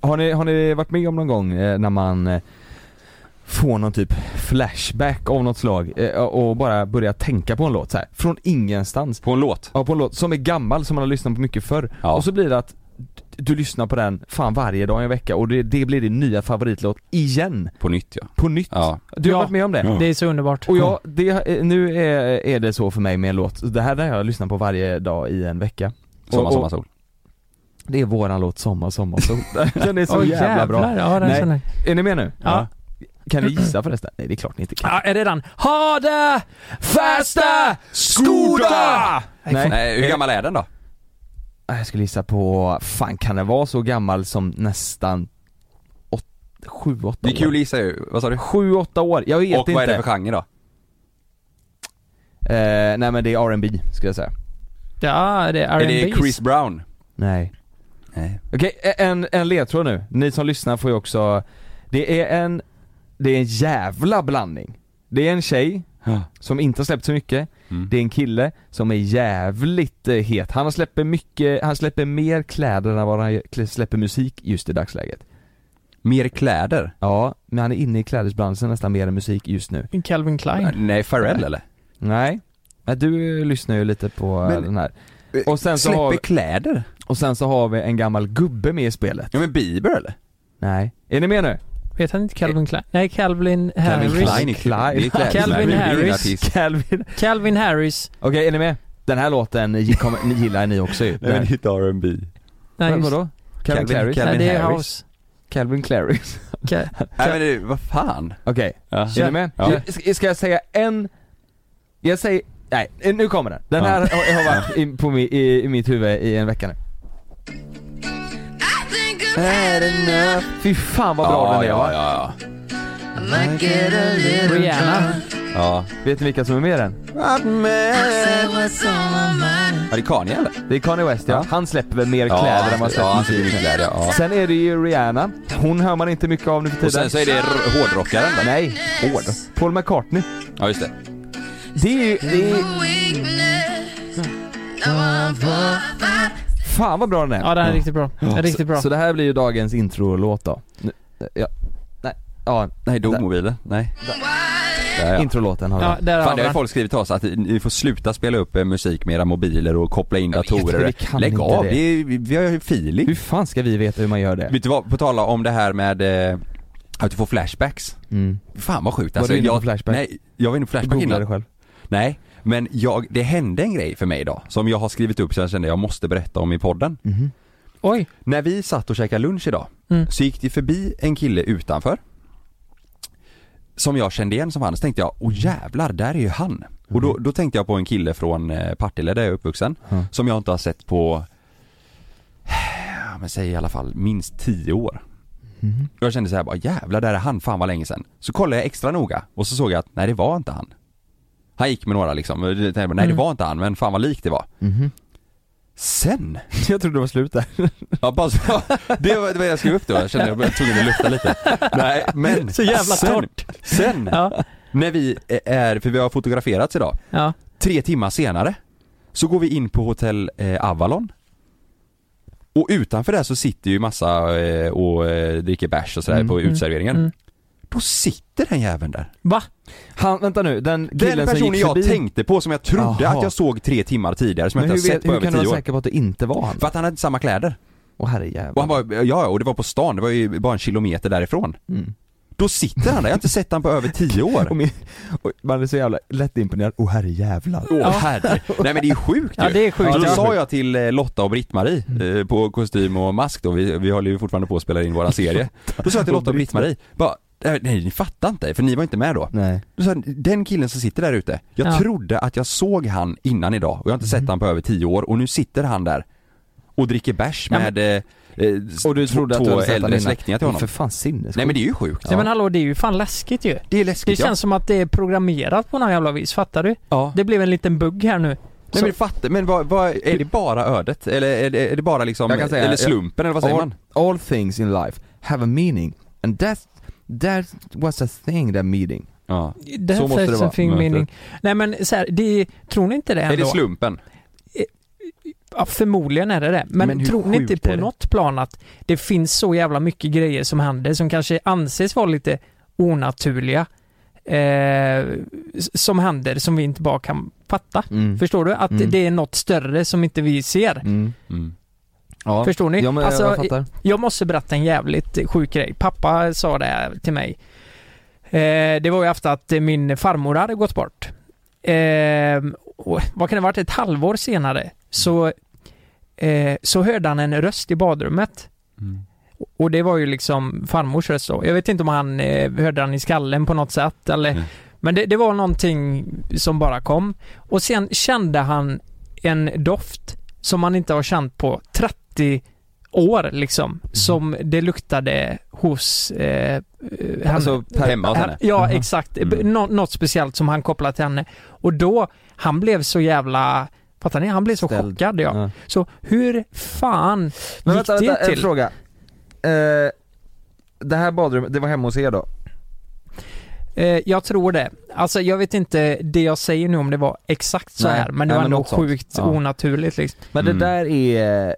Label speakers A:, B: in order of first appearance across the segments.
A: Har ni, har ni varit med om någon gång eh, när man eh, får någon typ flashback av något slag eh, och bara börjar tänka på en låt så här från ingenstans?
B: På en låt.
A: Ja, på en låt som är gammal som man har lyssnat på mycket förr.
B: Ja.
A: Och så blir det att du lyssnar på den fan varje dag i en vecka och det, det blir din nya favoritlåt igen,
B: På nytt ja.
A: på nytt.
B: Ja.
A: Du har
C: Ja.
A: varit med om det?
B: Ja.
C: Det är så underbart.
A: Och jag, det, nu är, är det så för mig med en låt, det här har jag lyssnat på varje dag i en vecka
B: Sommar,
A: Och- och-
B: sommar, sol.
A: Det är våran låt Sommar, sommar, sol. Den är så
C: Åh,
A: jävla bra.
C: Ja, den
A: Nej.
C: känner jag.
A: Är ni med nu?
C: Ja.
A: Kan ni gissa förresten? Nej det är klart ni inte kan.
D: Ah,
C: Ja, är det den? Ha det!
A: Fasta! Skoda! Nej. Nej. Ah,
B: Nej, Eh, hur gammal är den då?
A: Jag skulle gissa på, fan kan den vara så gammal som nästan 7, 8 år?
B: Det är kul att gissa ju. Vad sa du?
A: 7, 8 år, jag vet
B: Och
A: inte.
B: vad är det för genre då?
A: eh, nej men det är R&B skulle jag säga.
C: Ja, det är
B: Är det
C: R&B's.
B: Chris Brown?
A: Nej.
B: Nej.
A: Okej, e- en, en ledtråd nu. Ni som lyssnar får ju också, det är en, det är en jävla blandning. Det är en tjej som inte har släppt så mycket,
B: Mm.
A: det är en kille som är jävligt eh, het. Han släpper mycket, han släpper mer kläder än vad han gör- släpper musik just i dagsläget.
B: Mer kläder?
A: Ja, men han är inne i klädesbranschen nästan mer än musik just nu.
C: Calvin Klein.
B: Nej, Pharrell eller?
A: Nej. Men du lyssnar ju lite på eh,
B: Men-
A: den här. Och sen, så
B: Släpper
A: har,
B: kläder?
A: och sen så har vi en gammal gubbe med i spelet.
B: Ja men Bieber eller?
A: Nej. Är ni med nu?
C: Vet han inte Calvin Klein? Nej, Calvin Harris.
B: Calvin Klein är
A: Klein.
B: det är kläder.
C: Calvin
B: Det är en
C: Harris.
B: artist.
A: Calvin.
C: Calvin Harris.
A: Okej, är ni med? Den här låten gi- kommer- ni gillar ni också ju.
B: Nej men
A: Den-
B: inte R&B
C: Nej,
A: Men
C: just-
A: vadå? Calvin
B: Calvin-
A: Claris?
B: Calvin
C: Nej, det är
B: Harris.
C: House.
A: Calvin Claris.
C: Ca-
B: Nej men det, vad fan?
A: Okej, är ni med?
B: Ja.
A: S- Ska jag säga en... Jag säger... Nej, nu kommer den. Den här har, har varit i, på, mi- i, i mitt huvud i en vecka nu. Fy fan vad bra den är va?
B: ja, ja,
C: Rihanna.
B: ja.
A: Vet ni vilka som är med i den?
B: Ja, det är Kanye eller?
A: Det är Kanye West ja.
B: Ja.
A: Han släpper väl mer kläder än vad
B: ja,
A: han
B: han
A: släpper musik.
B: släpper mycket kläder, ja.
A: Sen är det ju Rihanna. Hon hör man inte mycket av nu för tiden.
B: Och sen så är det r- hårdrockaren då?
A: Nej, hård. Paul McCartney.
B: Ja just det.
A: Det är ju... Det är... Fan vad bra den är.
C: Ja, den är riktigt bra. Den är riktigt bra.
A: Så det här blir ju dagens introlåt då. Nu- Ja, nej, ja,
B: Nej, dog
A: Där.
B: mobilen? Nej. Där, ja.
A: introlåten har
C: Ja,
A: vi.
C: där
B: Fan, det
C: har
B: har ju
C: vi
B: folk skrivit till oss att ni får sluta spela upp eh, musik med era mobiler och koppla in
A: vet, men vi
B: datorer.
A: kan
B: Lägg
A: inte
B: av,
A: det.
B: det. är- vi- vi har ju feeling.
A: Hur fan ska vi veta hur man gör det?
B: Vet du vad, på tala om det här med eh, att du får flashbacks.
A: Mm.
B: Fan vad sjukt Alltså,
A: Var du inne på
B: jag,
A: flashback?
B: Nej, jag var inne på flashback
A: Googla det
B: innan.
A: själv.
B: Nej, men jag, det hände en grej för mig idag som jag har skrivit upp så jag kände jag måste berätta om i podden.
C: Oj.
B: När vi satt och käkade lunch idag
C: Mm.
B: så gick det förbi en kille utanför. Som jag kände igen som han, så tänkte jag, åh jävlar, där är ju han. Och då, då tänkte jag på en kille från eh, Partille där jag är uppvuxen,
A: Mm.
B: som jag inte har sett på, ja, men säg i alla fall minst 10 år.
A: Mm-hmm.
B: Och jag kände så här bara, jävlar där är han, fan vad länge sedan. Så kollade jag extra noga och så såg jag att, nej det var inte han. Han gick med några liksom, Och jag tänkte, nej det
A: Mm.
B: var inte han, men fan vad likt det var. Sen
A: Mm-hmm. Jag trodde det var slut där.
B: Ja, bara så, ja, det var det var jag skrev upp då, jag kände att jag var tvungen att lufta lite. Nej, men
C: Så jävla
B: sen,
C: torrt.
B: Sen,
C: Ja.
B: när vi är, för vi har fotograferats idag,
C: Ja.
B: tre timmar senare så går vi in på hotell eh, Avalon. Och utanför där så sitter ju massa eh, och eh, dricker bärs och sådär
A: Mm,
B: på utserveringen. Då sitter den jäveln där.
C: Va?
A: Han, vänta nu, den killen
B: Den
A: som
B: personen
A: gick
B: jag
A: förbi.
B: tänkte på som jag trodde
A: Jaha.
B: att jag såg tre timmar tidigare som
A: men
B: jag
A: hur,
B: inte har sett
A: vet,
B: på
A: hur
B: över
A: kan du
B: tio
A: vara
B: år.
A: säker på att det inte var han?
B: För att han hade inte samma kläder.
A: Och herrejävlar.
B: Och han bara, ja ja, och det var på stan, det var ju bara en kilometer därifrån.
A: Mm.
B: Då sitter han där, jag har inte sett han på över tio
A: Och
B: år.
A: min, och man är så jävla lättimponerad. Åh herrejävlar.
B: Åh herre. Nej men det är sjukt ju.
D: Ja, det är sjukt.
B: Ja, då
D: Ja.
B: sa jag till eh, Lotta och Britt-Marie eh, på kostym och mask då, vi, vi håller ju fortfarande på att spela in våran serie. Då sa jag till Lotta och Britt-Marie, bara, "Eh, nej ni fattar inte, för ni var inte med då.
A: Nej.
B: Då sa jag, den killen som sitter där ute, jag
D: Ja.
B: trodde att jag såg han innan idag och jag har inte sett han på över tio år och nu sitter han där och dricker bärs
D: Ja,
B: med eh, eh,
A: Och du
B: två-
A: trodde att du
B: två
A: hade sett
B: äldre
A: den innan.
B: släktingar till honom.
A: För fan sinnessjukt.
B: Nej men det är ju sjukt.
D: Nej men hallå, det är ju fan läskigt ju.
B: Det är
D: Det
B: läskigt
D: känns som att det är programmerat på något jävla vis, fattar du?
B: ja. ja.
D: Det blev en liten bugg här nu.
B: Nej men fattar, men vad, vad, är det bara ödet? Eller är det, är det bara liksom,
A: Jag kan säga-
B: eller slumpen eller vad säger
A: all,
B: man?
A: all things in life have a meaning. And that, that was a thing, that meeting.
B: Ja.
D: Det
A: Så
D: här
A: måste det
D: finns en
A: vara,
D: fin
B: mötet.
D: mening. Nej men så här, det, tror ni inte det ändå?
B: Är det slumpen?
D: Ja, förmodligen är det det. Men,
B: Men hur
D: tror ni inte
B: sjukt är
D: på
B: det?
D: något plan att det finns så jävla mycket grejer som händer som kanske anses vara lite onaturliga eh, s- som händer som vi inte bara kan fatta?
A: Mm.
D: Förstår du? Att
A: Mm.
D: det är något större som inte vi ser.
A: Mm.
B: Mm.
A: Ja.
D: Förstår ni?
A: Ja, men,
D: Alltså,
A: jag fattar.
D: Jag måste berätta en jävligt sjuk grej. Pappa sa det här till mig. Eh, det var ju efter att eh, min farmor hade gått bort. Eh, och, vad kan det ha varit? Ett halvår senare så, eh, så hörde han en röst i badrummet. Och det var ju liksom farmors röst då. Jag vet inte om han eh, hörde han i skallen på något sätt eller
B: Mm.
D: Men det, det var någonting som bara kom. Och sen kände han en doft som han inte har känt på 30 år liksom. Som det luktade hos eh, eh, henne.
A: Alltså, per,
B: Hemma hos henne?
D: Ja,
A: Aha.
D: exakt.
B: Mm.
D: B- Nå- något speciellt som han kopplade till henne. Och då, han blev så jävla, fattar ni? Han blev så
A: Ställd.
D: chockad ja.
A: Ja.
D: Så hur fan
A: Men
D: gick
A: vänta,
D: det
A: vänta, en
D: till?
A: fråga. Eh, det här badrummet, det var hemma hos er då?
D: Eh, jag tror det. Alltså jag vet inte det jag säger nu om det var exakt så
A: Nej.
D: här, men det
A: Nej,
D: var
A: men
D: ändå
A: något sånt.
D: sjukt
A: Ja.
D: onaturligt liksom.
A: Men
B: Mm.
A: det där är...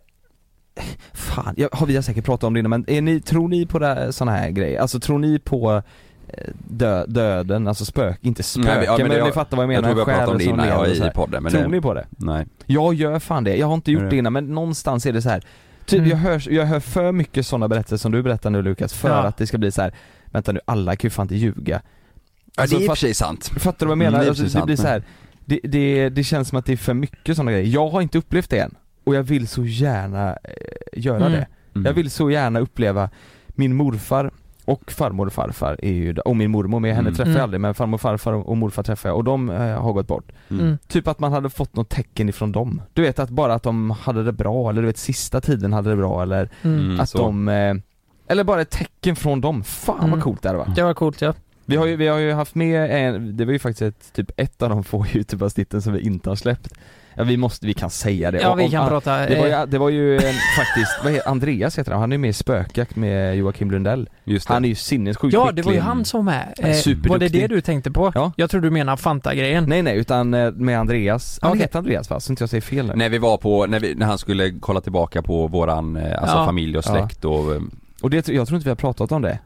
A: Fan, jag, har vi har säkert pratat om det innan men är ni, tror ni på det här- såna här grejer? Alltså tror ni på eh, dö, döden, alltså spök, inte spöken
B: Nej, men- ja, men
A: men,
B: det-
A: ni fattar vad jag
B: Jag
A: menar,
B: tror vi har pratat
A: själen
B: om det
A: som
B: innan, ja,
A: lever och så
B: i
A: här.
B: podden men
A: Tror
B: det,
A: ni på det?
B: nej.
A: Jag gör fan det, jag har inte gjort
B: Är det?
A: det innan men någonstans är det så här. Typ,
D: Mm.
A: jag, hör, jag hör för mycket sådana berättelser som du berättar nu Lukas för
D: Ja.
A: att det ska bli så här. vänta nu, alla kan ju fan inte ljuga
B: Ja det
A: Alltså,
B: är i och för
A: fast-
B: sig sant.
A: Fattar du vad jag
B: Mm,
A: menar?
B: det är
A: alltså,
B: precis
A: det blir
B: sant,
A: så här. Det, det, det känns som att det är för mycket sådana grejer. Jag har inte upplevt det än. Och jag vill så gärna eh, göra
D: Mm.
A: det. Jag vill så gärna uppleva min morfar och farmor och farfar är ju, och min mormor, men henne
B: Mm.
A: träffar jag
D: Mm.
A: aldrig men farmor och farfar och och morfar träffar jag och de eh, har gått bort.
D: Mm.
A: Typ att man hade fått något tecken ifrån dem. Du vet att bara att de hade det bra eller du vet sista tiden hade det bra eller
D: Mm.
B: Mm,
A: att
B: så.
A: de eh, eller bara ett tecken från dem. Fan
D: Mm.
A: vad coolt det hade varit.
D: Det var coolt ja.
A: Vi har ju, vi har ju haft med en, det var ju faktiskt ett, typ ett av de få youtube-avsnitten som vi inte har släppt Ja vi måste, vi kan säga det
D: Ja
A: Om-
D: vi kan
A: om-
D: prata.
A: det var
D: eh,
A: ju, det var ju en, faktiskt, vad heter, Andreas heter han, han är ju med i Spökjakt med Joakim Lundell
B: Just det.
A: Han är ju sinnessjukt
D: ja det var ju
A: skicklig.
D: han som var med. Eh,
A: Superduktig.
D: var det det du tänkte på?
A: Ja.
D: Jag tror du menar Fanta-grejen.
A: Nej nej, utan eh, med Andreas, han
D: Okej.
A: heter Andreas va? Så inte jag säger fel nu
B: När vi var på, när, vi, när han skulle kolla tillbaka på våran, eh, alltså
D: Ja.
B: familj och
A: Ja.
B: släkt och, eh,
A: Och det, jag tror inte vi har pratat om det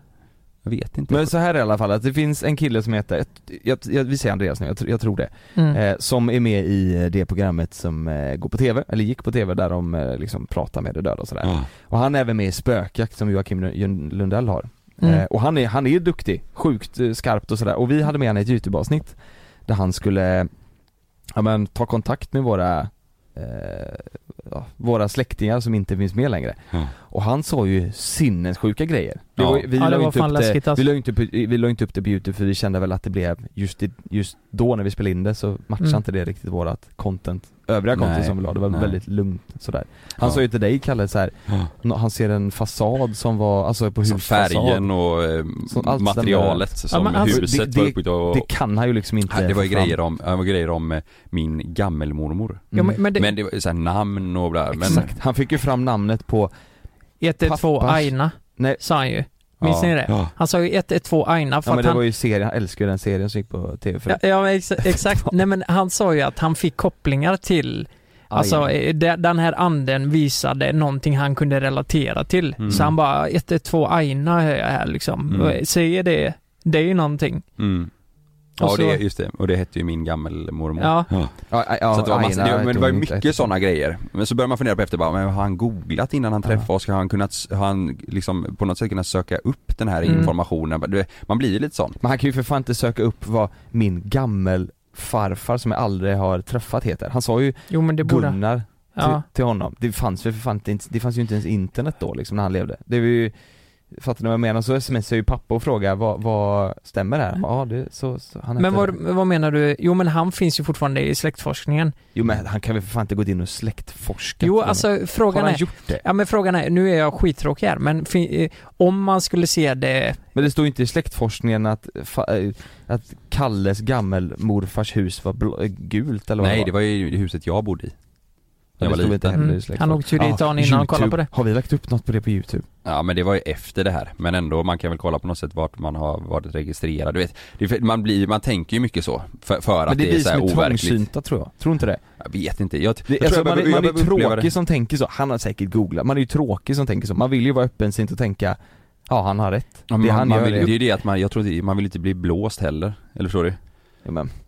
B: jag vet inte.
A: Men så här är det i alla fall, att det finns en kille som heter, jag, jag, vi säger Andreas nu, jag, tr- jag tror det
D: Mm.
A: eh, Som är med i eh, det programmet som eh, går på TV, eller gick på TV där de eh, liksom pratar med det döda och sådär
B: Ja.
A: Och han är även med i Spökjakt som Joakim Lund- Lundell har.
D: Mm.
A: Eh, och han är, han är duktig, sjukt eh, skarpt och sådär. Och vi hade med honom i ett YouTube-avsnitt där han skulle, ja men ta kontakt med våra, eh, ja, våra släktingar som inte finns med längre.
B: Ja.
A: Och han sa ju sinnessjuka grejer.
B: Ja.
A: var ju- vi
D: Ja, det
A: la ju
D: var
A: inte
D: fan
A: upp
D: läskigt, alltså.
A: Vi la ju inte, upp- vi la ju inte upp det på YouTube för vi kände väl att det blev, just, i, just då när vi spelade in det så matchade
D: Mm.
A: inte det riktigt vårat content, övriga content
B: Nej,
A: som vi la. Det var
B: nej.
A: väldigt lugnt sådär. Han
B: Ja.
A: sa ju till dig Kalle så här,
B: Ja.
A: Nå- Han ser en fasad som var, alltså på
B: Som
A: husfasad
B: färgen och eh,
A: Så allt
B: materialet som
D: men alltså,
B: huset
A: det-
B: var
A: det-
B: uppbyggt och,
A: Det kan han ju liksom inte
B: det var ju
A: få fram.
B: grejer om, det var grejer om eh, min gammelmormor.
D: Ja, men, men det,
B: Men det var ju såhär namn och bla, men
A: Exakt, han fick ju fram namnet på,
D: 112
A: pappas-
D: Aina
A: nej
D: sa han ju. Minns
B: Ja.
D: ni det?
B: Ja.
D: Han sa ju 112 Aina för
A: ja, men
D: att
A: det
D: han...
A: var ju serien, han älskar ju den serien som gick på tv för
D: Ja, ja men ex exakt. Nej men han sa ju att han fick kopplingar till Alltså eh, de- den här anden visade någonting han kunde relatera till.
B: Mm.
D: Så han bara 112 Aina hör jag här liksom.
B: Mm.
D: Säger det, det är ju någonting.
B: mm. Ja,
D: Och så-
B: det, just det. Och det hette ju min gammelmormor.
D: Ja.
A: Ja, ja,
B: så att det var massa,
A: Aina
B: det, men det var ju
A: tog inte efter.
B: mycket sådana grejer. Men så börjar man fundera på efter bara, men har han googlat innan han träffade oss? Har han kunnat, s- har han liksom på något sätt kunnat söka upp den här
D: Mm.
B: informationen? Du vet, Man blir ju lite sån.
A: Men han kan ju för fan inte söka upp vad min gammel farfar som jag aldrig har träffat heter. Han sa ju
D: Jo men det borde...
A: Gunnar till,
D: Ja.
A: till honom. Det fanns väl för fan inte, det fanns ju inte ens internet då liksom när han levde. Det var ju, fattar ni vad jag menar? Så smsar ju pappa och frågar vad, vad stämmer det här? Ja det, så, så han
D: Mm. Men
A: heter-
D: vad, vad menar du? Jo men han finns ju fortfarande i släktforskningen.
A: Jo men han kan väl för fan inte gå in och släktforska?
D: Jo
A: på honom.
D: alltså
A: har
D: frågan
A: han
D: är...
A: gjort det?
D: Ja men frågan är, nu är jag skittråkig här men fi, eh, om man skulle se det...
A: Men det står ju inte i släktforskningen att, fa, eh, att Kalles gammelmorfars hus var blå, eh, gult eller vad
B: Nej, det var ju huset jag bodde i.
A: Ja,
B: Jag
A: det
B: var
A: stod inte
B: liten.
A: heller i
D: Mm.
A: släktforskningen.
D: Han åkte ju dit
A: Ja,
D: dagen innan och kollade på det.
A: YouTube. Har vi lagt upp något på det på youtube?
B: Ja men det var ju efter det här, men ändå man kan väl kolla på något sätt vart man har varit registrerad, du vet. Det, är för- man, blir, man tänker ju mycket så, för, för att
A: Men
B: det,
A: det är
B: är
A: vi
B: så här
A: som är
B: overkligt.
A: trångsynta tror jag, tror inte det?
B: Jag vet inte, jag,
A: det
B: jag
A: alltså, man,
B: tror jag
A: är- man är
B: behöver- jag behöver uppleva
A: tråkig som tänker så, han har säkert googlat, man är ju tråkig som tänker så, man vill ju vara öppensind och tänka Ja han har rätt,
B: Ja,
A: det
B: man,
A: han
B: man
A: gör
B: vill,
A: är-
B: det är ju det att man, jag tror inte, man vill inte bli blåst heller, eller förstår du?
A: ja, men,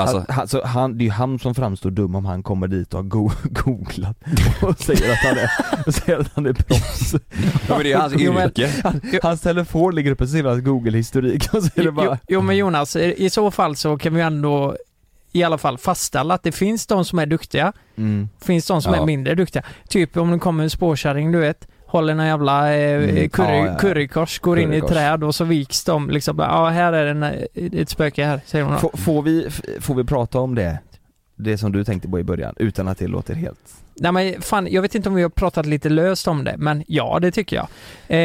B: Alltså,
A: han, alltså, han, det är ju han som framstår dum om han kommer dit och har go- googlat och säger att han är, och säger att han är proffs
B: ja, men det är hans
A: Jo, men-
B: yrke.
A: han, Hans telefon ligger uppe och ser hans google-historik och så är det
D: Jo,
A: bara
D: jo men Jonas, i i så fall så kan vi ändå i alla fall fastställa att det finns de som är duktiga,
A: mm.
D: finns de som
B: Ja.
D: är mindre duktiga. Typ om det kommer en spårkärring du vet, håller en jävla eh,
A: Mm.
D: curry,
A: Ja, ja, ja.
D: currykors, går in i
A: Currykors.
D: träd och så viks de liksom. bara, Ja, här är en, eh, ett spöke här, säger hon. då.
A: får, får, vi, f- får vi prata om det? Det som du tänkte på i början, utan att det låter helt
D: Nej men fan, jag vet inte om vi har pratat lite löst om det, men ja det tycker jag. Eh,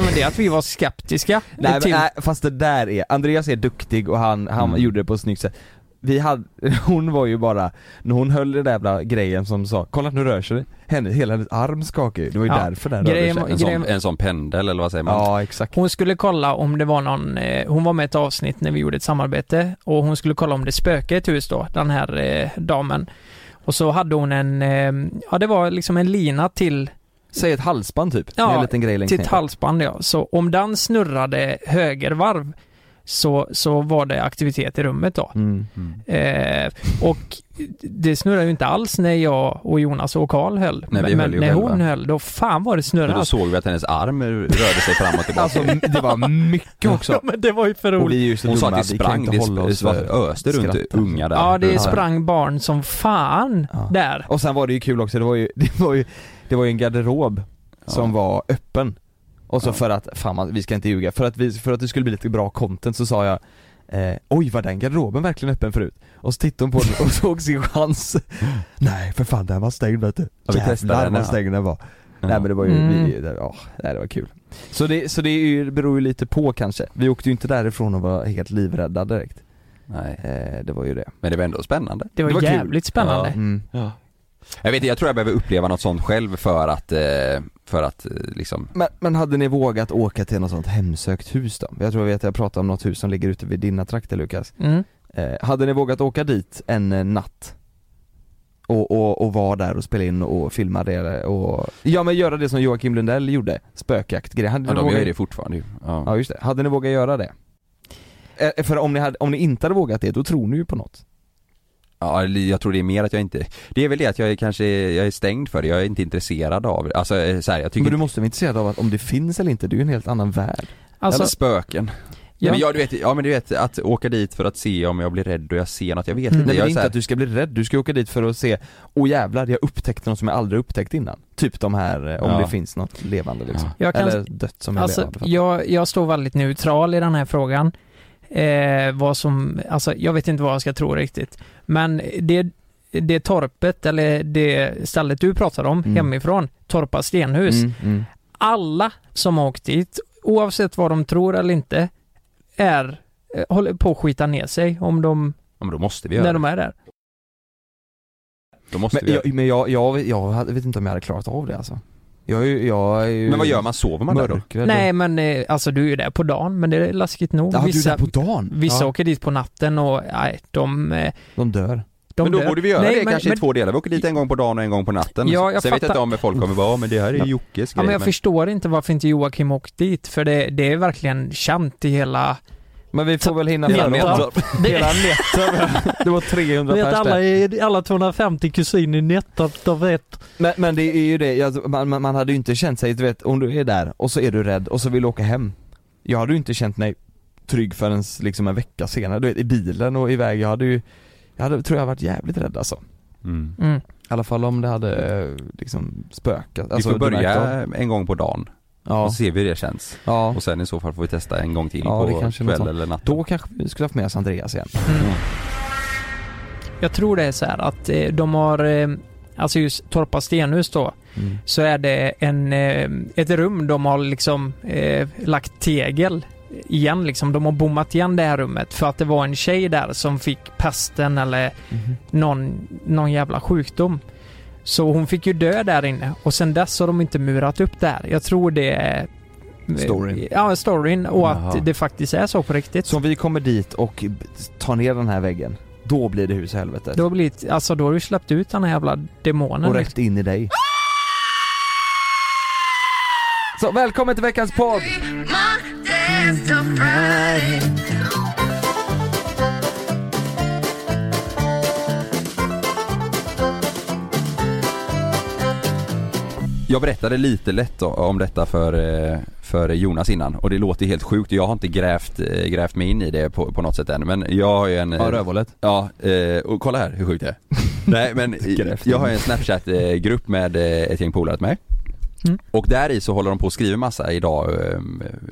D: men det är att vi var skeptiska.
A: Nej, men,
D: till,
A: nej fast det där är, Andreas är duktig och han, han
B: Mm.
A: gjorde det på ett snyggt sätt vi hade, hon var ju bara, när hon höll den där jävla grejen som sa 'Kolla nu rör sig det." henne, hela hennes arm skakade ju, det var ju
D: Ja,
A: därför den
D: grejen
A: rörde sig
B: En sån,
D: Grejen-
B: en sån pendel eller vad säger man?
A: Ja exakt
D: Hon skulle kolla om det var någon, eh, hon var med i ett avsnitt när vi gjorde ett samarbete och hon skulle kolla om det spökade i ett hus då, den här eh, damen. Och så hade hon en, eh, ja det var liksom en lina till,
A: Säg ett halsband typ,
D: Ja,
A: med en liten grej längst
D: till
A: ner
D: ett halsband ja. Så om den snurrade högervarv så, så var det aktivitet i rummet då.
A: mm.
B: Mm.
D: Eh, och det snurrade ju inte alls när jag och Jonas och Karl höll.
B: Nej, vi
D: men
B: höll ju
D: när hon
B: själva.
D: höll, då fan var det
B: Men
D: snurrat.
B: då såg vi att hennes arm rörde sig fram och tillbaka.
A: Alltså det var mycket också,
D: Ja, men det var ju för
A: och
D: roligt.
A: vi är ju så
B: Hon sa
A: dumma,
B: att det
A: vi kan
B: sprang,
A: inte
B: det
A: hålla oss
B: sp-
A: för
B: öste runt
A: skratt, alltså.
B: unga där.
D: Ja, det
A: Ja.
D: sprang barn som fan
A: Ja.
D: där.
A: Och sen var det ju kul också, det var ju, det var ju, det var ju en garderob
B: Ja.
A: som var öppen. Och så
B: Ja.
A: för att, fan man, vi ska inte ljuga, för att, vi, för att det skulle bli lite bra content så sa jag eh, Oj var den garderoben verkligen öppen förut? Och så tittade hon på den och såg sin chans Nej för fan den var stängd vet du
B: Mm. Ja, vi testade den,
A: vad
B: ja.
A: stängd den var
B: Ja.
A: Nej men det var ju,
D: Mm.
A: vi, det, ja, nej, det var kul Så det, så det är ju, beror ju lite på kanske, vi åkte ju inte därifrån och var helt livrädda direkt
B: Nej,
A: eh, Det var ju det
B: men det var ändå spännande.
D: Det var,
A: Det var kul.
D: jävligt spännande.
A: mm.
B: Jag vet inte, jag tror jag behöver uppleva något sånt själv för att, eh, för att eh, liksom
A: Men, men hade ni vågat åka till något sånt hemsökt hus då? Jag tror jag vet, jag pratade om något hus som ligger ute vid dina trakter Lukas
D: Mm.
A: eh, Hade ni vågat åka dit en eh, natt? Och, och, och vara där och spela in och filma det eh, och, ja men göra det som Joakim Lundell gjorde, spökjakt grejer. Hade
B: Ja,
A: ni
B: de
A: vågat-
B: gör ju det fortfarande ju. Ja.
A: Ja just det, hade ni vågat göra det? Eh, För om ni, hade, om ni inte hade vågat det, då tror ni ju på något
B: ja, eller jag tror det är mer att jag inte, det är väl det att jag är kanske jag är stängd för det, jag är inte intresserad av det. Alltså eh, så här, jag tycker
A: Men du måste vara intresserad av att om det finns eller inte, det är ju en helt annan värld
D: Alltså,
B: Eller spöken.
D: Ja.
B: Ja. Men jag, du vet, ja men du vet att åka dit för att se om jag blir rädd och jag ser något, jag vet
D: Mm.
A: Nej
B: inte.
A: men det är
B: Jag är så
A: inte
B: här,
A: att du ska bli rädd, du ska åka dit för att se Åh jävlar, jag upptäckte något som jag aldrig upptäckt innan Typ de här, eh, om
B: Ja.
A: det finns något levande liksom
D: jag, kan,
A: Eller dött som är
D: alltså
A: levande
D: jag, jag står väldigt neutral i den här frågan. Eh, vad som, alltså, jag vet inte vad jag ska tro riktigt. Men det, det torpet, eller det stället du pratar om
A: Mm.
D: hemifrån, Torpa stenhus.
A: Mm, mm.
D: Alla som har åkt dit, oavsett vad de tror eller inte, är, eh, håller på att skita ner sig om de,
B: ja, men då måste vi göra
D: när
B: det.
D: de är där.
B: Då måste
A: Men,
B: vi göra
A: jag, men jag, jag, jag hade- vet inte om jag hade klarat av det alltså Jag är ju, jag är ju
B: det. Men vad gör man, sover man där då?
A: mörkrädd.
D: Nej men eh, alltså du är ju där på dagen, men det är läskigt nog.
A: Ja,
D: Vissa-
A: du är där på dagen?
D: Vissa
A: ja,
D: åker dit på natten och nej, de... eh,
A: de dör
D: de
B: men då
D: dör.
B: borde vi göra
D: nej,
B: det
D: men,
B: kanske
D: men,
B: i två delar, vi åker dit en gång på dagen och en gång på natten.
D: Ja, jag
B: Sen vet jag inte
D: fattar.
B: om folk kommer bara, ja men det här är ju Jockes
D: Ja,
B: grej.
D: men jag förstår inte varför inte Joakim åkt dit, för det, det är verkligen känt i hela
A: Men vi får väl hinna
D: Hela
A: fram
D: Nettorp.
A: Hela Nettorp. Det var 300
E: Vet
A: pers
E: alla,
A: där.
E: i- alla 250 kusiner i Nettorp, de vet.
A: Men, men det är ju det, jag- man, man man hade ju inte känt sig, du vet om du är där och så är du rädd och så vill du åka hem Jag hade ju inte känt mig trygg förrän liksom en vecka senare, du vet i bilen och iväg, jag hade ju Jag hade, tror jag varit jävligt rädd alltså I
B: Mm.
D: Mm.
A: alla fall om det hade eh, liksom spökat
B: Vi
A: alltså,
B: får
A: du märkte
B: börja
A: av-
B: en gång på dagen och
A: Ja,
B: så ser vi hur det känns.
A: ja
B: Och sen i så fall får vi testa en gång till
A: Ja, det
B: på
A: kanske är något
B: kväll
A: sånt.
B: eller natt.
A: Då kanske vi skulle haft med oss Andreas igen
D: Mm. Jag tror det är så här att eh, de har, eh, alltså just Torpa stenhus då,
A: Mm.
D: så är det en, eh, ett rum de har liksom eh, lagt tegel igen liksom. De har bommat igen det här rummet för att det var en tjej där som fick pesten eller
E: Mm-hmm.
D: någon, någon jävla sjukdom. Så hon fick ju dö där inne och sen dess har de inte murat upp där. Jag tror det är... eh,
A: Storyn.
D: Ja, storyn och
B: Jaha.
D: att det faktiskt är så på riktigt.
A: Så om vi kommer dit och b- tar ner den här väggen, då blir det hus i helvetet
D: Då har blivit, alltså då har du släppt ut den här jävla demonen.
A: och rätt in i dig Så välkommen till veckans podd!
B: Jag berättade lite lätt då, om detta för, eh, för Jonas innan och det låter helt sjukt. Jag har inte grävt, eh, grävt mig in i det på, på något sätt än men jag har ju en...
A: Ja, rövhålet
B: Ja, eh, och kolla här hur sjukt det är. Nej men
A: Grävt in.
B: jag har ju en Snapchat-grupp med eh, ett gäng polare till mig.
D: Mm.
B: Och där i så håller de på och skriver massa idag, eh,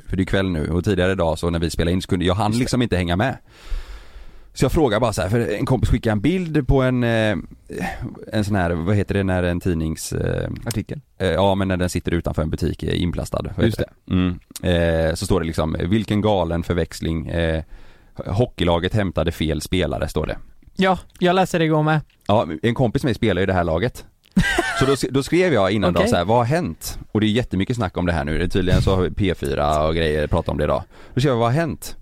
B: för det är kväll nu och tidigare idag så när vi spelade in så kunde jag hann liksom inte hänga med. Så jag frågar bara så här, för en kompis skickade en bild på en, eh, en sån här, vad heter det när en tidnings... eh,
A: Artikel.
B: Eh, Ja men när den sitter utanför en butik eh, inplastad. Vad
A: Just
B: heter Mm. Eh, så står det liksom, vilken galen förväxling. Eh, hockeylaget hämtade fel spelare står det.
D: Ja, jag läste det igår med.
B: Ja, en kompis med mig spelar ju det här laget. Så då, då skrev jag innan
D: Okej.
B: då så här, vad har hänt? Och det är jättemycket snack om det här nu. Det är Tydligen så har vi P4 och grejer pratat om det idag. Då skrev jag, vad har hänt?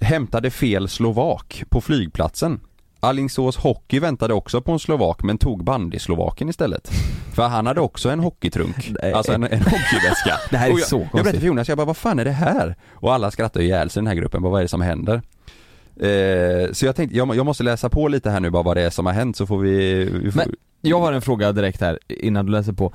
B: Hämtade fel slovak på flygplatsen. Alingsås Hockey väntade också på en slovak men tog bandyslovaken istället. För han hade också en hockeytrunk,
A: Nej.
B: alltså en, en hockeyväska.
A: Det här är
B: Och jag,
A: så
B: Jag
A: konstigt.
B: berättade för Jonas, jag bara vad fan är det här? Och alla skrattar ju ihjäl sig i den här gruppen, bara, vad är det som händer? Eh, så jag tänkte, jag, må- jag måste läsa på lite här nu bara vad det är som har hänt så får vi... vi får,
A: Men- Jag har en fråga direkt här innan du läser på.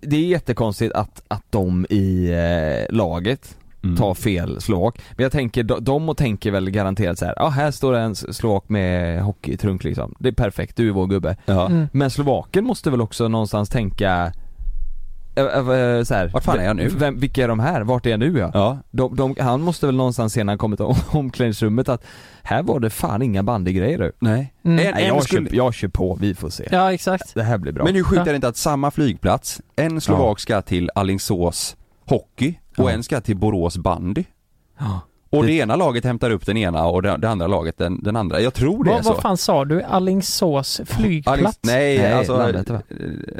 A: Det är jättekonstigt att, att de i eh, laget
B: Mm.
A: tar fel slovak. Men jag tänker, de, de och tänker väl garanterat så här, ja ah, här står det en slovak med hockeytrunk liksom. Det är perfekt, du är vår gubbe.
B: Ja.
D: Mm.
A: Men slovaken måste väl också någonstans tänka eh, eh, så här,
B: Vart fan är jag nu?
A: Vem, vilka är de här? Vart är jag nu ja?
B: Ja.
A: De, de, han måste väl någonstans senare kommit om, omklädningsrummet att här var det fan inga bandygrejer du.
B: Nej.
D: Mm.
B: En,
A: Nej,
B: en
A: jag,
B: skulle,
A: kör, jag kör på, vi får se.
D: Ja, exakt.
A: Det här blir bra.
B: men hur sjukt
D: Ja.
B: är det inte att samma flygplats, en slovak ska till Alingsås Hockey och
A: Ja.
B: en ska till Borås Bandy.
A: Ja.
B: Och det,
A: Det-
B: ena laget hämtar upp den ena och det, det andra laget den, den andra. Jag tror det är
D: Vad,
B: så.
D: vad fan sa du? Alingsås flygplats?
B: Alings- nej,
A: Nej,
B: alltså
A: landet, va?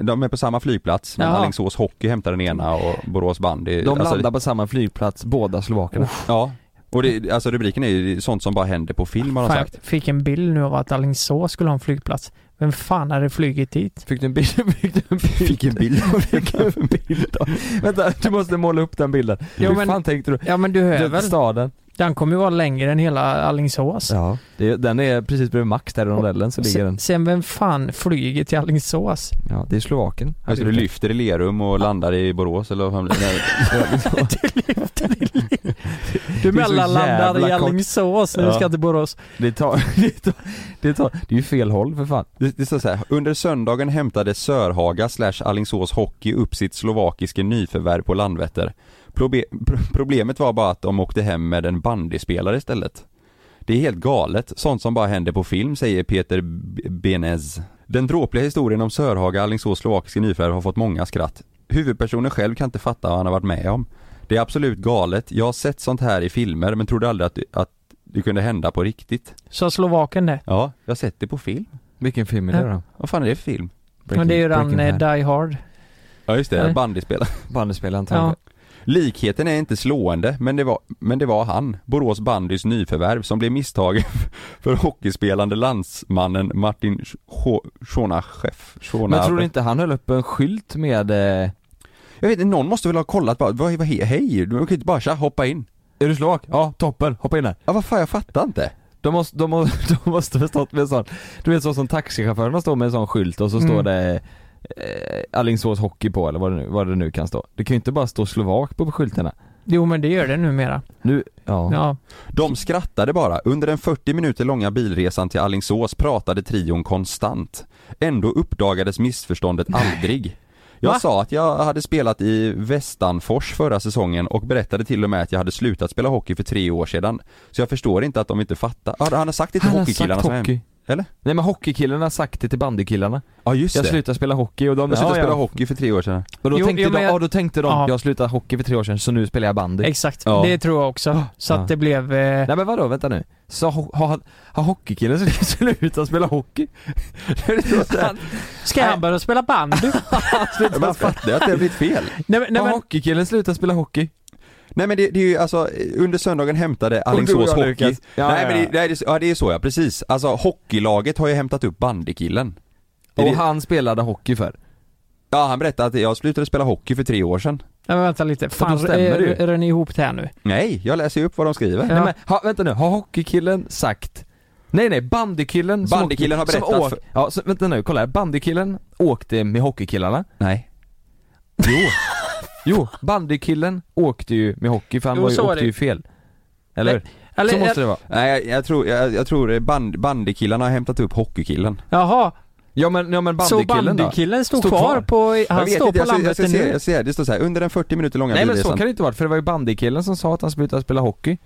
B: de är på samma flygplats men
D: Jaha.
B: Alingsås Hockey hämtar den ena och Borås Bandy.
A: De
B: alltså,
A: landar på samma flygplats, båda slovakerna.
B: Ja, och det, alltså rubriken är ju sånt som bara händer på film har de
D: Fan,
B: sagt.
D: jag fick en bild nu av att Alingsås skulle ha en flygplats. Vem fan hade flugit dit?
A: Fick du en bild? Fick du en bild? Fick en bild? Fick en bild då. Vänta, du måste måla upp den bilden.
D: Jo,
A: Hur
D: men-
A: fan tänkte du?
D: Ja men du hör
A: Den
D: väl?
A: staden.
D: Den kommer ju vara längre än hela Alingsås.
A: Ja. Det, är- den är precis bredvid Max där i rondellen så ligger den.
D: Sen, sen vem fan flyger till Alingsås?
A: Ja, det är Slovaken.
B: Alltså du lyfter i Lerum och landar i Borås eller vad fan blir det?
D: Du
A: Det är så
D: mellanlandar i
A: jävla kort.
D: Alingsås när du
A: Ja.
D: ska till Borås.
A: Det tar, det tar, det tar, det är ju fel håll för fan.
B: Det, det står så här, under söndagen hämtade Sörhaga slash Alingsås Hockey upp sitt slovakiska nyförvärv på Landvetter. Probe- pro- problemet var bara att de åkte hem med en bandyspelare istället. Det är helt galet, sånt som bara händer på film säger Peter B- Benez. Den dråpliga historien om Sörhaga Alingsås slovakiska nyförvärv har fått många skratt. Huvudpersonen själv kan inte fatta vad han har varit med om. Det är absolut galet, jag har sett sånt här i filmer men trodde aldrig att, att det kunde hända på riktigt.
D: Så Slovaken det.
B: Ja, jag har sett det på film.
A: Vilken film är det då?
B: Vad fan är det för film?
D: Men det är ju den
A: Breaking
D: eh,
A: Bad.
D: Die Hard.
B: Ja just
D: Nej.
B: det, bandyspelare.
A: Bandespelaren
D: Ja.
A: ja.
B: Likheten är inte slående, men det var, men det var han, Borås bandys nyförvärv, som blev misstagen för hockeyspelande landsmannen Martin Scho- Schonacheff. Schona-
A: Men tror du inte han höll upp en skylt med eh,
B: Jag vet inte, någon måste väl ha kollat bara, vad, vad, hej, du kan ju inte bara tja, hoppa in. Är du slovak? Ja, toppen, hoppa in här. Ja vad fan, jag fattar inte.
A: De måste, de måste, de måste ha stått med en sån, du vet så som taxichaufförerna står med en sån skylt och så
C: Mm.
A: står det eh, Alingsås hockey på eller vad det, nu, vad det nu kan stå. Det kan ju inte bara stå slovak på skyltarna.
C: Jo men det gör det numera.
A: Nu, ja.
C: Ja.
B: De skrattade bara. Under den 40 minuter långa bilresan till Allingsås pratade trion konstant. Ändå uppdagades missförståndet aldrig. Jag
C: Va?
B: sa att jag hade spelat i Västanfors förra säsongen och berättade till och med att jag hade slutat spela hockey för tre år sedan. Så jag förstår inte att de inte fattar. Ja, han har sagt det till
A: Han har
B: hockeykillarna
A: sagt
B: som är hem.
A: hockey.
B: Eller?
A: Nej men hockeykillarna har sagt det till bandykillarna.
B: Ja just
A: Jag
B: det.
A: slutade spela hockey och de
B: jag slutade
A: ja,
B: spela
A: ja.
B: hockey för tre år sedan.
A: Och då
C: Jo,
A: tänkte
C: jo, men
A: de,
C: jag-
A: ja då tänkte de,
C: Ja.
A: jag slutade hockey för tre år sedan så nu spelar jag bandy.
C: Exakt,
B: Ja.
C: det tror jag också. Så
A: Ja.
C: att det blev... Eh,
A: Nej men vadå, vänta nu. Så ho- har, har hockeykillen slutat spela hockey? Det är så här,
C: ska han börja spela bandy?
B: Men man fattar att det har blivit fel.
C: nej, men- nej,
A: har
C: men,
A: hockeykillen slutat spela hockey?
B: Nej men det, det är ju alltså, under söndagen hämtade
A: Och
B: Alingsås
A: du och jag,
B: Hockey.
A: Lukas. Ja,
B: nej
A: ja,
B: men
A: ja.
B: det, nej, det, ja, det är så ja, precis. Alltså hockeylaget har ju hämtat upp bandykillen. Det är
A: Och
B: det-
A: han spelade hockey för.
B: Ja han berättade att jag slutade spela hockey för tre år sedan.
C: nej, men vänta lite. Fan,
A: stämmer det ju.
C: är, är ni ihop det här nu?
B: Nej, jag läser ju upp vad de skriver.
C: Ja.
A: Nej, men, ha, vänta nu, har hockeykillen sagt Nej nej, bandykillen som
B: Bandykillen
A: åkte-
B: har berättat
A: som åk,
B: för-
A: Ja, så, vänta nu, kolla här. Bandykillen åkte med hockeykillarna
B: Nej.
A: Jo Jo, bandykillen åkte ju med hockey för han
C: Jo,
A: var ju,
C: så var
A: åkte
C: det.
A: ju fel Eller hur?
C: Eh, Eller,
A: Så måste det vara
B: Nej jag, jag tror, jag, jag tror band, bandykillarna har hämtat upp hockeykillen.
C: Jaha,
A: Ja men, ja, men
C: så
A: bandykillen då?
C: bandykillen stod
A: Stod
C: kvar
A: kvar.
C: på...
B: jag
C: Han
B: vet
C: står
B: inte,
C: på
B: jag, ser- jag,
C: landet
B: ser- jag, ser-
C: nu?
B: jag ser, det står så här, under den 40 minuter långa
A: Nej men så
B: bilresan.
A: kan det inte varit för det var ju bandykillen som sa att han slutade spela hockey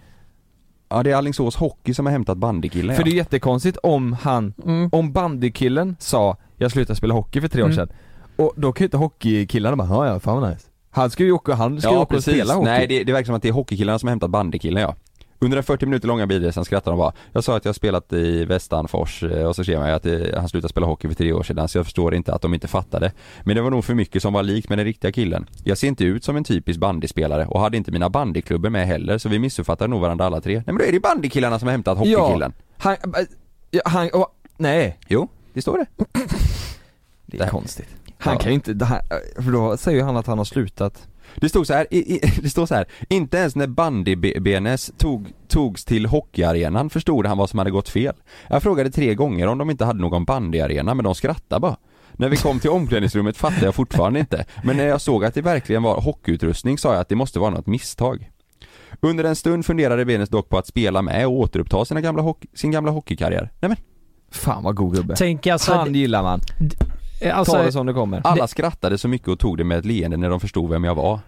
B: Ja det är Alingsås Hockey som har hämtat bandykillen
A: För det är
B: ja.
A: jättekonstigt om han,
C: Mm.
A: om bandykillen sa 'Jag slutade spela hockey för tre år
C: Mm.
A: sedan' Och då kan ju inte hockeykillarna bara 'Ja ja, fan vad nice' Han ska ju åka, han ska ju
B: Ja
A: åka och
B: precis,
A: spela hockey
B: nej det, det verkar som att det är hockeykillarna som har hämtat bandykillen ja. Under den 40 minuter långa bilresan skrattade de bara. Jag sa att jag spelat i Västanfors eh, och så skrev jag att eh, han slutade spela hockey för tre år sedan så jag förstår inte att de inte fattade. Men det var nog för mycket som var likt med den riktiga killen. Jag ser inte ut som en typisk bandyspelare och hade inte mina bandyklubbor med heller så vi missuppfattade nog varandra alla tre. Nej men då är det ju bandykillarna som har hämtat hockeykillen.
A: Ja, Eh. han, äh, ja, han, åh, nej.
B: Jo, det står det.
A: Det är
B: Det här-
A: konstigt. Han
B: Ja.
A: kan ju inte, det här, för då säger ju han att han har slutat.
B: Det stod så här, i, i, det står så här. inte ens när bandy-BNS tog, togs till hockeyarenan förstod han vad som hade gått fel. Jag frågade tre gånger om de inte hade någon bandyarena, men de skrattade bara. När vi kom till omklädningsrummet fattade jag fortfarande inte, men när jag såg att det verkligen var hockeyutrustning sa jag att det måste vara något misstag. Under en stund funderade BNS dock på att spela med och återuppta sina gamla hockey, sin gamla hockeykarriär. Nej men,
A: Fan vad god gubbe.
C: Tänk alltså...
A: han gillar man.
C: alltså
A: Ta det som det kommer.
B: alla skrattade så mycket och tog det med ett leende när de förstod vem jag var.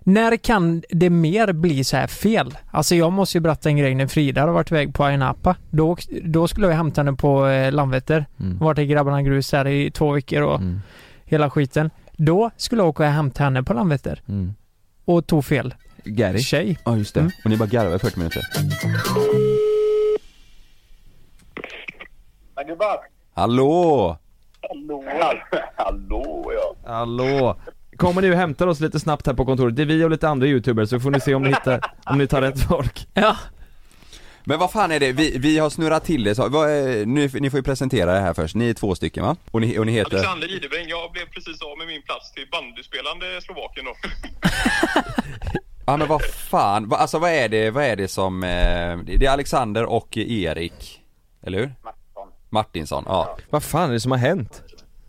C: När kan det mer bli så här fel? Alltså jag måste ju berätta en grej när Frida har varit iväg på Ayia Napa. Då, åkt- då skulle jag hämta henne på eh, Landvetter.
A: Mm.
C: Vart i grabbarna grus där i två veckor och
A: Mm.
C: hela skiten. Då skulle jag åka och hämta henne på Landvetter
A: Mm.
C: och tog fel
A: Gary.
C: tjej.
B: Ja just det. Och ni bara garvade i 40 minuter.
D: Men gubbar!
B: Hallå!
D: Hallå! Hallå ja!
A: Hallå. Kommer ni och hämtar oss lite snabbt här på kontoret. Det är vi och lite andra youtubers så får ni se om ni hittar, om ni tar rätt folk.
C: Ja.
B: Men vad fan är det, vi, vi har snurrat till det, så, vad, är- ni, ni får ju presentera det här först, ni är två stycken va? Och ni, och ni heter?
D: Alexander Idebring, jag blev precis av med min plats till bandyspelande Slovakien då.
B: Ja men vad fan, va, alltså vad är det, vad är det som, eh, det är Alexander och Erik, eller hur? Martinsson, ja.
A: Vad fan är det som har hänt?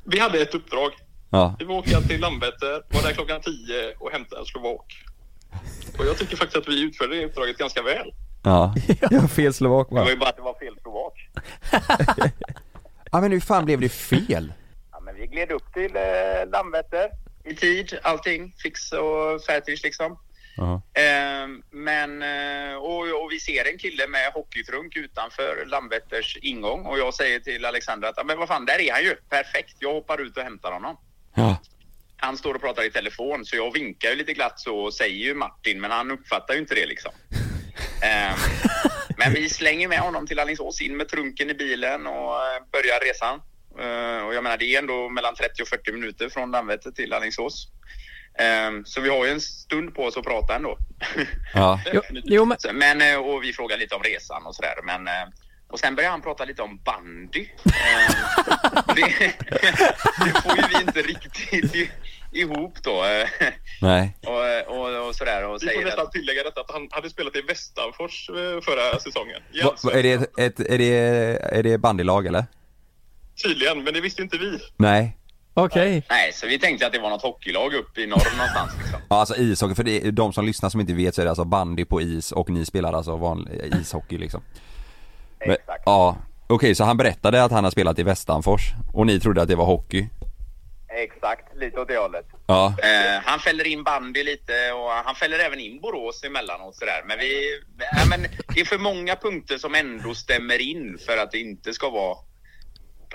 D: Vi hade ett uppdrag.
B: ja.
D: Vi var åka till Landvetter, var där klockan 10 och hämta en slovak. Och jag tycker faktiskt att vi utförde det uppdraget ganska väl.
B: Ja.
A: Jag har fel slovak va?
D: ju bara att det var fel slovak.
B: Ja men hur fan blev det fel?
D: Ja, men vi gled upp till eh, Landvetter i tid, allting fix och färdigt liksom.
B: Ja.
D: Ehm, men, eh, och, och vi ser en kille med hockeytrunk utanför Landvetters ingång och jag säger till Alexander att "Ja, men vad fan, där är han ju. Perfekt, jag hoppar ut och hämtar honom.
B: Ja.
D: Han står och pratar i telefon så jag vinkar ju lite glatt så och säger ju Martin men han uppfattar ju inte det liksom. Ehm, men vi slänger med honom till Alingsås, in med trunken i bilen och eh, börjar resan. Eh, och jag menar det är ändå mellan 30 och 40 minuter från Landvetter till Alingsås. Ehm, så vi har ju en stund på oss att prata ändå.
B: Ja.
C: Jo, jo men...
D: Så, men, eh, och vi frågar lite om resan och sådär. Men, eh, och sen börjar han prata lite om bandy. Eh, det, det får ju vi inte riktigt... Det, ihop då. eh,
B: Nej.
D: Och, och, och sådär och
F: Vi får
D: säger
F: nästan
D: att...
F: tillägga detta att han hade spelat i Västanfors eh, förra säsongen. I
B: Va, va, är, det ett, ett, är, det, är det bandylag eller?
F: Tydligen, men det visste inte vi.
B: Nej.
C: Okej.
D: Nej, så vi tänkte att det var något hockeylag uppe i norr någonstans. Liksom.
B: Ja, alltså ishockey, för det, är- de som lyssnar som inte vet så är det alltså bandy på is och ni spelar alltså vanlig ishockey liksom. Men, Exakt. Ja. Okej, så han berättade att han har spelat i Västanfors och ni trodde att det var hockey?
D: Exakt, lite åt det hållet.
B: Ja.
D: Eh, han fäller in bandy lite och han fäller även in Borås emellanåt sådär. Men, vi, nej, men det är för många punkter som ändå stämmer in för att det inte ska vara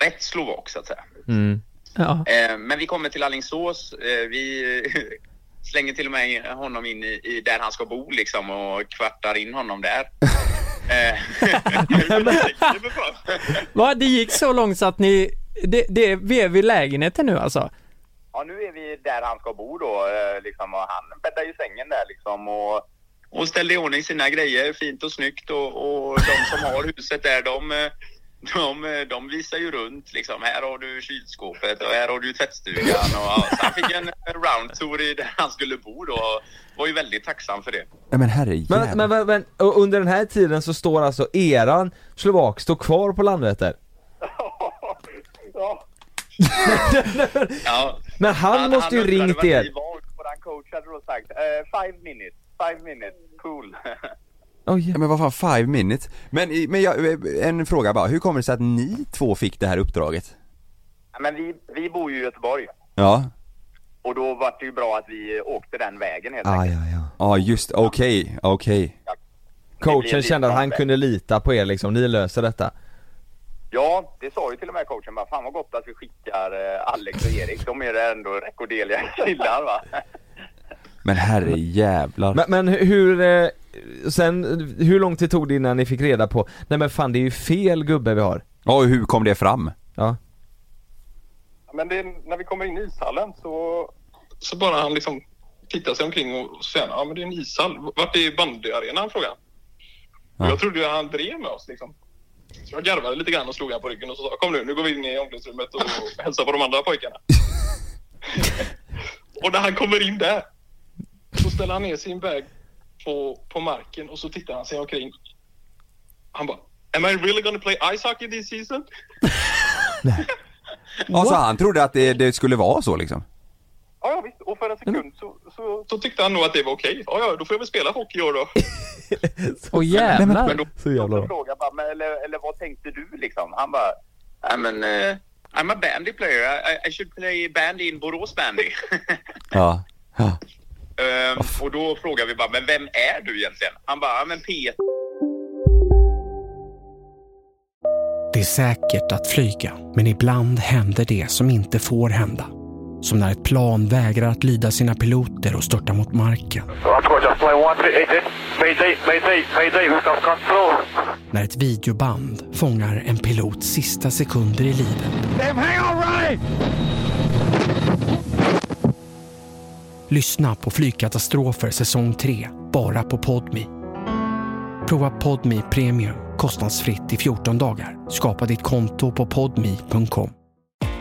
D: rätt slovak så att säga.
A: Mm.
C: Ja.
D: Eh, men vi kommer till Alingsås. Eh, vi eh, slänger till och med in- honom in i, i där han ska bo liksom och kvartar in honom där. Eh,
C: Va, det gick så långt så att ni... Det, det, vi är vid lägenheten nu alltså?
D: Ja, nu är vi där han ska bo då, eh, liksom, och han bäddar ju sängen där liksom och, och ställde i ordning sina grejer fint och snyggt och, och de som har huset där de, eh, de, eh, de visar ju runt liksom. Här har du kylskåpet och här har du tvättstugan och ja, så han fick en roundtour i där han skulle bo då och var ju väldigt tacksam för det.
B: Nej men herre
A: Men, men, men, men och under den här tiden så står alltså eran slovak står kvar på Landvetter?
D: Ja.
A: Men han måste ju
D: undrade
A: ringt
D: vart
A: er.
D: vi var och han coach hade då sagt eh, five minutes, five minutes, cool.
B: Ja, men vad fan, five minutes. Men, i- men jag, en fråga bara, hur kommer det sig att ni två fick det här uppdraget?
D: Ja, Men vi, vi bor ju i Göteborg.
B: Ja.
D: Och då var det ju bra att vi åkte den vägen helt
A: Ah,
D: enkelt.
A: ja, ja.
B: Ja just, okej, okej.
D: Det
A: Coachen
D: blir
A: kände att han
D: lite
A: kunde lita på er liksom, ni löser detta.
D: Ja, det sa ju till och med coachen bara, fan vad gott att vi skickar eh, Alex och Erik, de är ju ändå rekorddeliga killar va.
B: Men herre jävlar.
A: Men, men hur, eh, sen, hur lång tid tog det innan ni fick reda på, nej men fan det är ju fel gubbe vi har?
B: Ja, och hur kom det fram?
A: Ja.
F: Men det, när vi kommer in i ishallen så, så bara han liksom tittar sig omkring och säger ja men det är en ishall. Vart är bandyarenan? frågar han. Och Jag trodde ju han drev med oss liksom. Så jag garvade lite grann och slog han på ryggen och så sa kom nu, nu går vi in i omklädningsrummet och hälsar på de andra pojkarna. och när han kommer in där så ställer han ner sin bag på, på marken och så tittar han sig omkring. Han bara Am I really gonna play ice hockey this season?
B: Alltså han trodde att det, det skulle vara så liksom?
F: Ja, ja visst. Och för en sekund så, så, så tyckte han nog att det var okej. Ja, ja, då får jag väl spela hockey i år då.
C: Åh
F: Men
C: jävlar.
F: då,
A: Så jävla
D: Jag frågade bara, men, eller, eller vad tänkte du liksom? Han bara, nej men eh, I'm a bandy player, I- I, I should play bandy in Borås bandy.
B: Ja. ja.
D: Ehm, och då frågade vi bara, men vem är du egentligen? Han bara, ja men Peter.
G: Det är säkert att flyga, men ibland händer det som inte får hända. Som när ett plan vägrar att lyda sina piloter och störtar mot marken. När ett videoband fångar en pilots sista sekunder i livet. Lyssna på Flygkatastrofer säsong 3, bara på Podmi. Prova Podmi Premium kostnadsfritt i 14 dagar. Skapa ditt konto på podmi.com.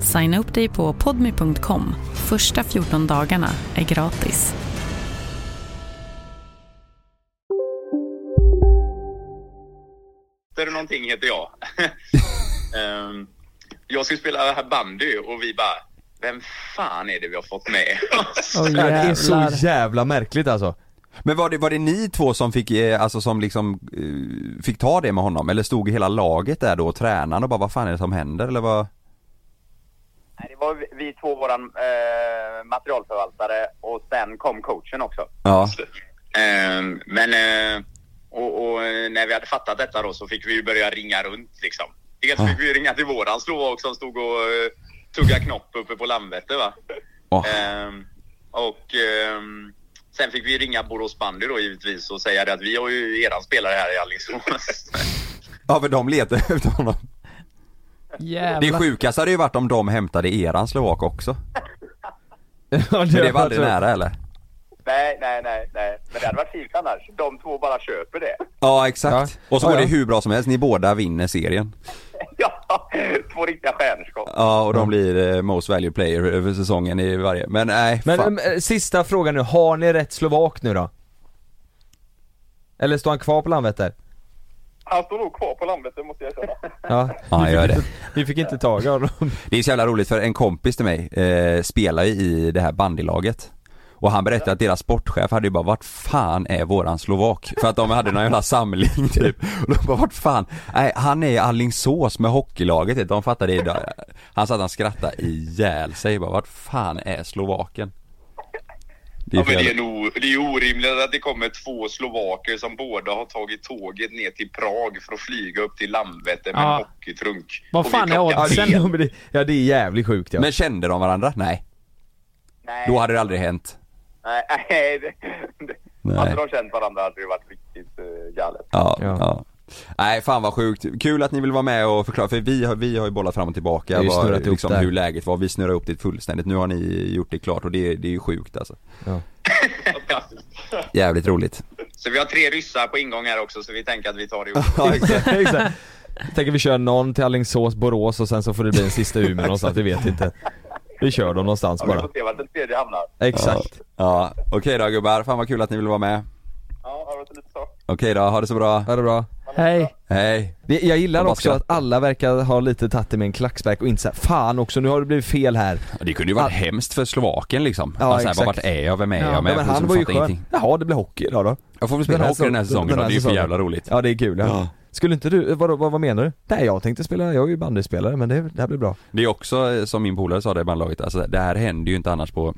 H: Signa upp dig på podmi.com. Första 14 dagarna är gratis.
D: Peter någonting heter jag. Ehm, jag skulle spela här bandy och vi bara, vem fan är det vi har fått med?
A: det är så jävla märkligt alltså.
B: Men var det, var det ni två som fick, eh, alltså som liksom eh, fick ta det med honom? Eller stod hela laget där då, tränaren och bara vad fan är det som händer eller vad?
D: Nej, det var vi- vi två, våran eh, materialförvaltare och sen kom coachen också.
B: Ja.
D: Ehm, men eh, och, och eh, när vi hade fattat detta då så fick vi ju börja ringa runt liksom. Dels fick vi ju ringa till våran slovak som stod och eh, tugga knopp uppe på Landvetter va. Ehm, och ehm, sen fick vi ringa Borås bandy då givetvis och säga det att vi har ju eran spelare här i Alingsås.
B: Ja för de letar efter honom. Det sjukaste hade ju varit om de hämtade eran slovak också. Men det var aldrig
D: alltså-
B: nära eller?
D: nej, nej, nej, nej. Men det hade varit fint annars. De två bara köper det.
B: Ja exakt. Och så
D: Ja,
B: går det
D: ja.
B: hur bra som helst, ni båda vinner serien.
D: ja, två riktiga stjärnskott.
B: Ja och de blir eh, most value player över säsongen i varje, men nej
A: Men
B: fan.
A: eh, sista frågan nu, har ni rätt slovak nu då? Eller står han kvar på Landvetter?
F: Han står nog kvar på Landvetter måste jag erkänna.
A: Ja,
B: Ja, gör det.
A: Vi fick inte tag i honom.
B: Det är så jävla roligt för en kompis till mig eh, spelar ju i det här bandylaget och han berättade att deras sportchef hade ju bara vart fan är våran slovak? För att de hade någon jävla samling typ och de bara vart fan? Nej han är i Alingsås med hockeylaget vet du. de fattade idag Han satt och skrattade ihjäl sig bara vart fan är slovaken? Det är
D: Ja,
B: för
D: men det, är
B: jävla-
D: nog, det är orimligt att det kommer två slovaker som båda har tagit tåget ner till Prag för att flyga upp till Landvetter med
A: Ja.
D: en hockeytrunk.
A: Vad
D: Och
A: fan
D: vid
A: är
D: klockan
A: oddsen?
D: tre.
A: Ja, men det- Ja det är jävligt sjukt ja.
B: Men kände de varandra? Nej. Då hade det aldrig hänt.
D: Nej, nej, det, det,
B: Nej.
D: Hade de känt varandra hade det varit riktigt uh, galet.
B: Ja, ja. Nej fan vad sjukt, kul att ni vill vara med och förklara för vi har, vi har ju bollat fram och tillbaka
A: Vi har ju
B: vad,
A: snurrat ihop
B: liksom,
A: där.
B: hur läget var, vi snurrar upp det fullständigt, nu har ni gjort det klart och det, det är ju sjukt alltså Jävligt roligt
D: Så vi har tre ryssar på ingång här också så vi tänker att vi tar det ihop.
A: Ja, exakt, exakt. Tänker vi kör någon till Alingsås, Borås och sen så får det bli en sista Umeå någonstans, vi vet inte. Vi kör dem någonstans
D: Ja, vi
A: bara.
D: får se vart den tredje hamnar.
A: Exakt.
B: Ja, okej då gubbar, fan vad kul att ni vill vara med
D: Ja, har det lite så.
B: Okej då, ha det så bra Ha
A: det bra
C: Hej.
B: Hej
A: Det- Jag gillar
B: Och bara
A: också att alla verkar ha lite tagit det med en klackspark och inte såhär, fan också nu har det blivit fel här.
B: Det kunde ju varit hemskt för Slovaken liksom
A: Ja,
B: alltså,
A: exakt.
B: Vart är jag, vem är
A: Ja,
B: jag med?
A: men han
B: Liksom,
A: var ju
B: fattar
A: skön.
B: ingenting.
A: Jaha, det blir hockey idag då.
B: Jag får väl spela hockey den här säsongen då, det är ju för
A: alltså, säsongen.
B: jävla roligt.
A: Ja det är kul ja.
B: Ja.
A: Skulle inte du, vadå, vad, vad menar du? Nej jag tänkte spela, jag är ju bandyspelare men det, det här blir bra.
B: Det är också eh, som min polare sa det i bandlaget, alltså det här händer ju inte annars på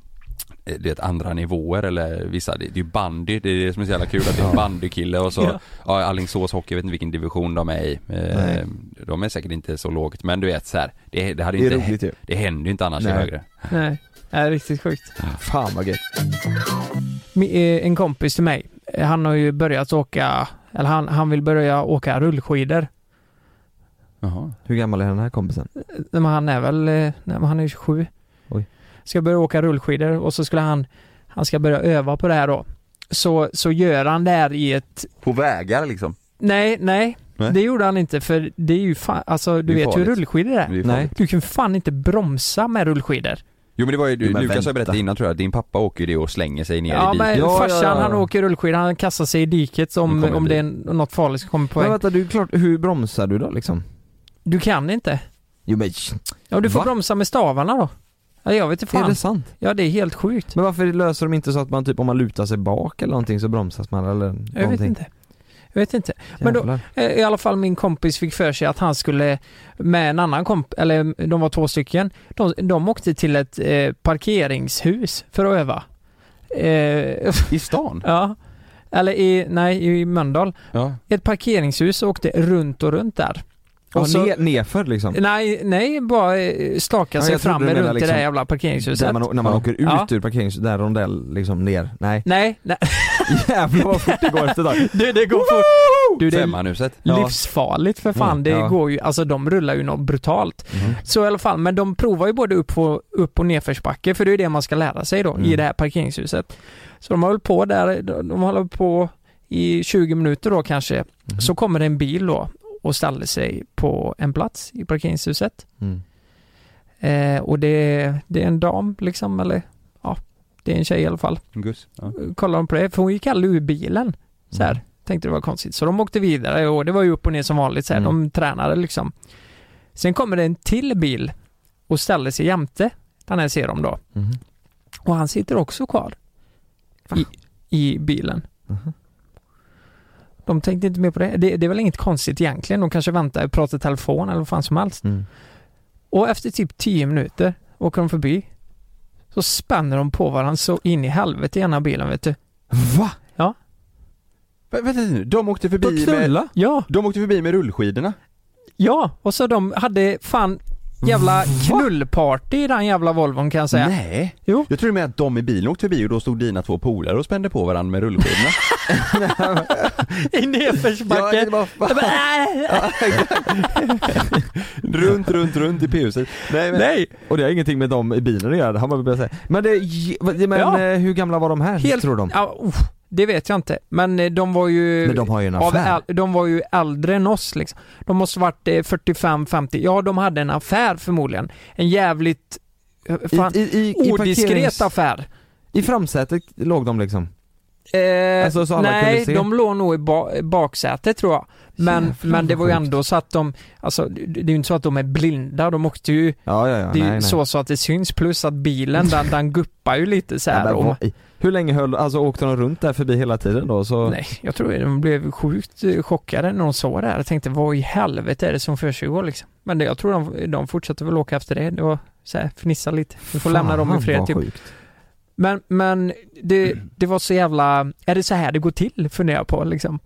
B: eh, det andra nivåer eller vissa, det det är ju bandy, det är det som är så jävla kul att det är en bandykille och så, ja,
A: Ja.
B: Alingsås hockey, jag vet inte vilken division de är i. Eh,
A: Nej.
B: De är säkert inte så lågt, men du vet så här, det, det, hade
A: Det är
B: inte,
A: roligt ju.
B: det händer ju inte annars i
A: Nej.
B: högre.
C: Nej, det är riktigt sjukt.
A: Fan vad gött.
C: Mi- eh, En kompis till mig, eh, han har ju börjat åka, eller han, han vill börja åka rullskidor.
B: Jaha.
A: Hur gammal är den här kompisen?
C: Eh, Men han är väl, eh, nej men han är 27.
A: Oj.
C: Ska börja åka rullskidor och så skulle han, han ska börja öva på det här då. Så, så gör han det här i ett
B: På vägar liksom?
C: Nej, nej,
B: Nej.
C: Det gjorde han inte för det är ju fan, alltså
B: Det
C: du
B: är
C: vet hur
B: farligt.
C: rullskidor är.
B: Det är farligt.
C: Du kan fan inte bromsa med rullskidor.
B: Jo men det var ju,
A: Jo, men
B: Lukas har
A: vänta.
B: berättat innan tror jag, din pappa åker ju det och slänger sig ner
C: Ja
B: i diket.
C: men farsan han åker rullskidor, han kastar sig i diket
B: Nu
C: om,
B: kommer
C: om
B: det
C: det är något farligt som kommer på
A: Men
C: väg.
A: vänta, du, klart, hur bromsar du då liksom?
C: Du kan inte.
A: Jo men...
C: Ja du får
A: Va?
C: bromsa med stavarna då. Ja, jag vet inte fan.
A: Är det sant?
C: Ja det är helt sjukt.
A: Men varför löser de inte så att man typ om man lutar sig bak eller någonting så bromsas man eller någonting?
C: Jag vet inte. Jag vet inte. Men då,
A: Jävlar.
C: eh, i alla fall min kompis fick för sig att han skulle med en annan kompis, eller de var två stycken, de, de åkte till ett eh, parkeringshus för att öva.
B: I stan?
C: ja. Eller i, nej, i Mölndal.
B: Ja.
C: Ett parkeringshus och åkte runt och runt där.
A: Och
C: Och så-
A: ne- nerför liksom?
C: Nej, nej, bara eh, staka
A: Ja,
C: sig
A: jag trodde
C: fram
A: du
C: runt
A: menade
C: i det
A: liksom
C: där jävla parkeringshuset.
A: Där man, när man åker ut
C: Ja.
A: ur parkeringshuset, där rondell liksom ner, nej.
C: Nej, nej.
A: Jävlar vad fort det går efter dag.
C: Du det går fort. Du, det är
B: Femmanhuset?
C: livsfarligt för fan.
A: Mm,
C: Det
A: ja.
C: går ju, alltså de rullar ju något brutalt. Så i alla fall, men de provar ju både upp och, upp och nedförsbacke för det är ju det man ska lära sig
A: Mm.
C: då i det här parkeringshuset. Så de har hållit på där, de de har hållit på i 20 minuter då kanske.
A: Mm.
C: Så kommer det en bil då och ställer sig på en plats i parkeringshuset.
A: Mm.
C: Eh, och det, det är en dam liksom, eller ja, det är en tjej i alla fall
B: Gus? Ja.
C: kollade de på det, för hon gick aldrig ur bilen. Så här. Tänkte det var konstigt. Så de åkte vidare och det var ju upp och ner som vanligt. Så här.
A: Mm.
C: De tränade liksom. Sen kommer det en till bil och ställer sig jämte den här ser de då. Och han sitter också kvar. I, i bilen. De tänkte inte mer på det. det. Det är väl inget konstigt egentligen. De kanske väntar, pratar i telefon eller vad fan som helst.
I: Mm.
C: Och efter typ 10 minuter åker de förbi. Så spänner de på varandra så in i helvete i ena bilen vet du.
A: Va?
C: Ja.
A: Vänta nu, de åkte förbi
C: med... Ja.
A: De åkte förbi med rullskidorna?
C: Ja, och så de hade fan jävla knullparty i den jävla Volvon kan jag säga.
A: Nej?
C: Jo.
A: Jag tror med att de i bilen åkte förbi och då stod dina två polare och spände på varandra med rullskidorna.
C: I nedförsbacke. "Äh."
A: Ja, det var fan. runt, runt, runt i P-huset. Nej, men...
C: Nej!
A: Och det har ingenting med dem i bilen att göra, han bara bara säga. Men, det, men
C: Ja.
A: eh, hur gamla var de här,
C: Helt-
A: tror de?
C: Ja, oh, det vet jag inte. Men eh, de var ju...
A: Men de har ju en
C: av
A: affär.
C: äl- de var ju äldre än oss liksom. De måste varit 45-50. Ja, de hade en affär förmodligen. En jävligt... eh, Fan,
A: I- i- i- i
C: odiskret
A: parkerings-
C: affär.
A: I framsätet låg de liksom?
C: Eh,
A: Alltså, så alla kunde
C: nej,
A: se.
C: de låg nog i ba- baksätet tror jag. Men,
A: Jävlar,
C: men det var ju
A: vad
C: ändå så att de, alltså det det är ju inte så att de är blinda, de åkte ju,
A: Ja, ja, ja.
C: det är ju
A: nej, nej.
C: så, så att det syns plus att bilen den, den guppar ju lite så
A: Ja,
C: här.
A: men
C: om-
A: vad- Hur länge höll, alltså åkte de runt där förbi hela tiden då? Så...
C: Nej, jag tror de blev sjukt eh, chockade när de såg det här. Jag tänkte, vad i helvete är det som försiggår liksom? Men det, jag tror de, de fortsatte väl åka efter det. Det var så här, fnissa lite. Vi får lämna dem i fred typ. Men, men det, det var så jävla, är det så här det går till? Funderar jag på liksom.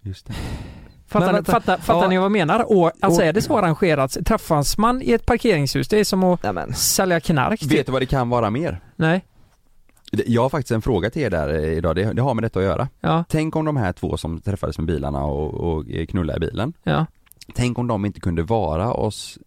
B: Just
C: Mm.
B: det.
C: Fattar,
A: Men
C: ni,
A: vänta.
C: fattar, fattar
A: Ja.
C: ni vad jag menar? Och, alltså
A: Och-
C: är det så arrangerat? Träffas man i ett parkeringshus, det är som att sälja knark. typ.
B: Vet du vad det kan vara mer?
C: Nej.
B: Det- Jag har faktiskt en fråga till er där eh, idag, det, det har med detta att göra. Tänk om de här två som träffades med bilarna och, och eh, knullade i bilen.
C: Ja.
B: Tänk om de inte kunde vara oss,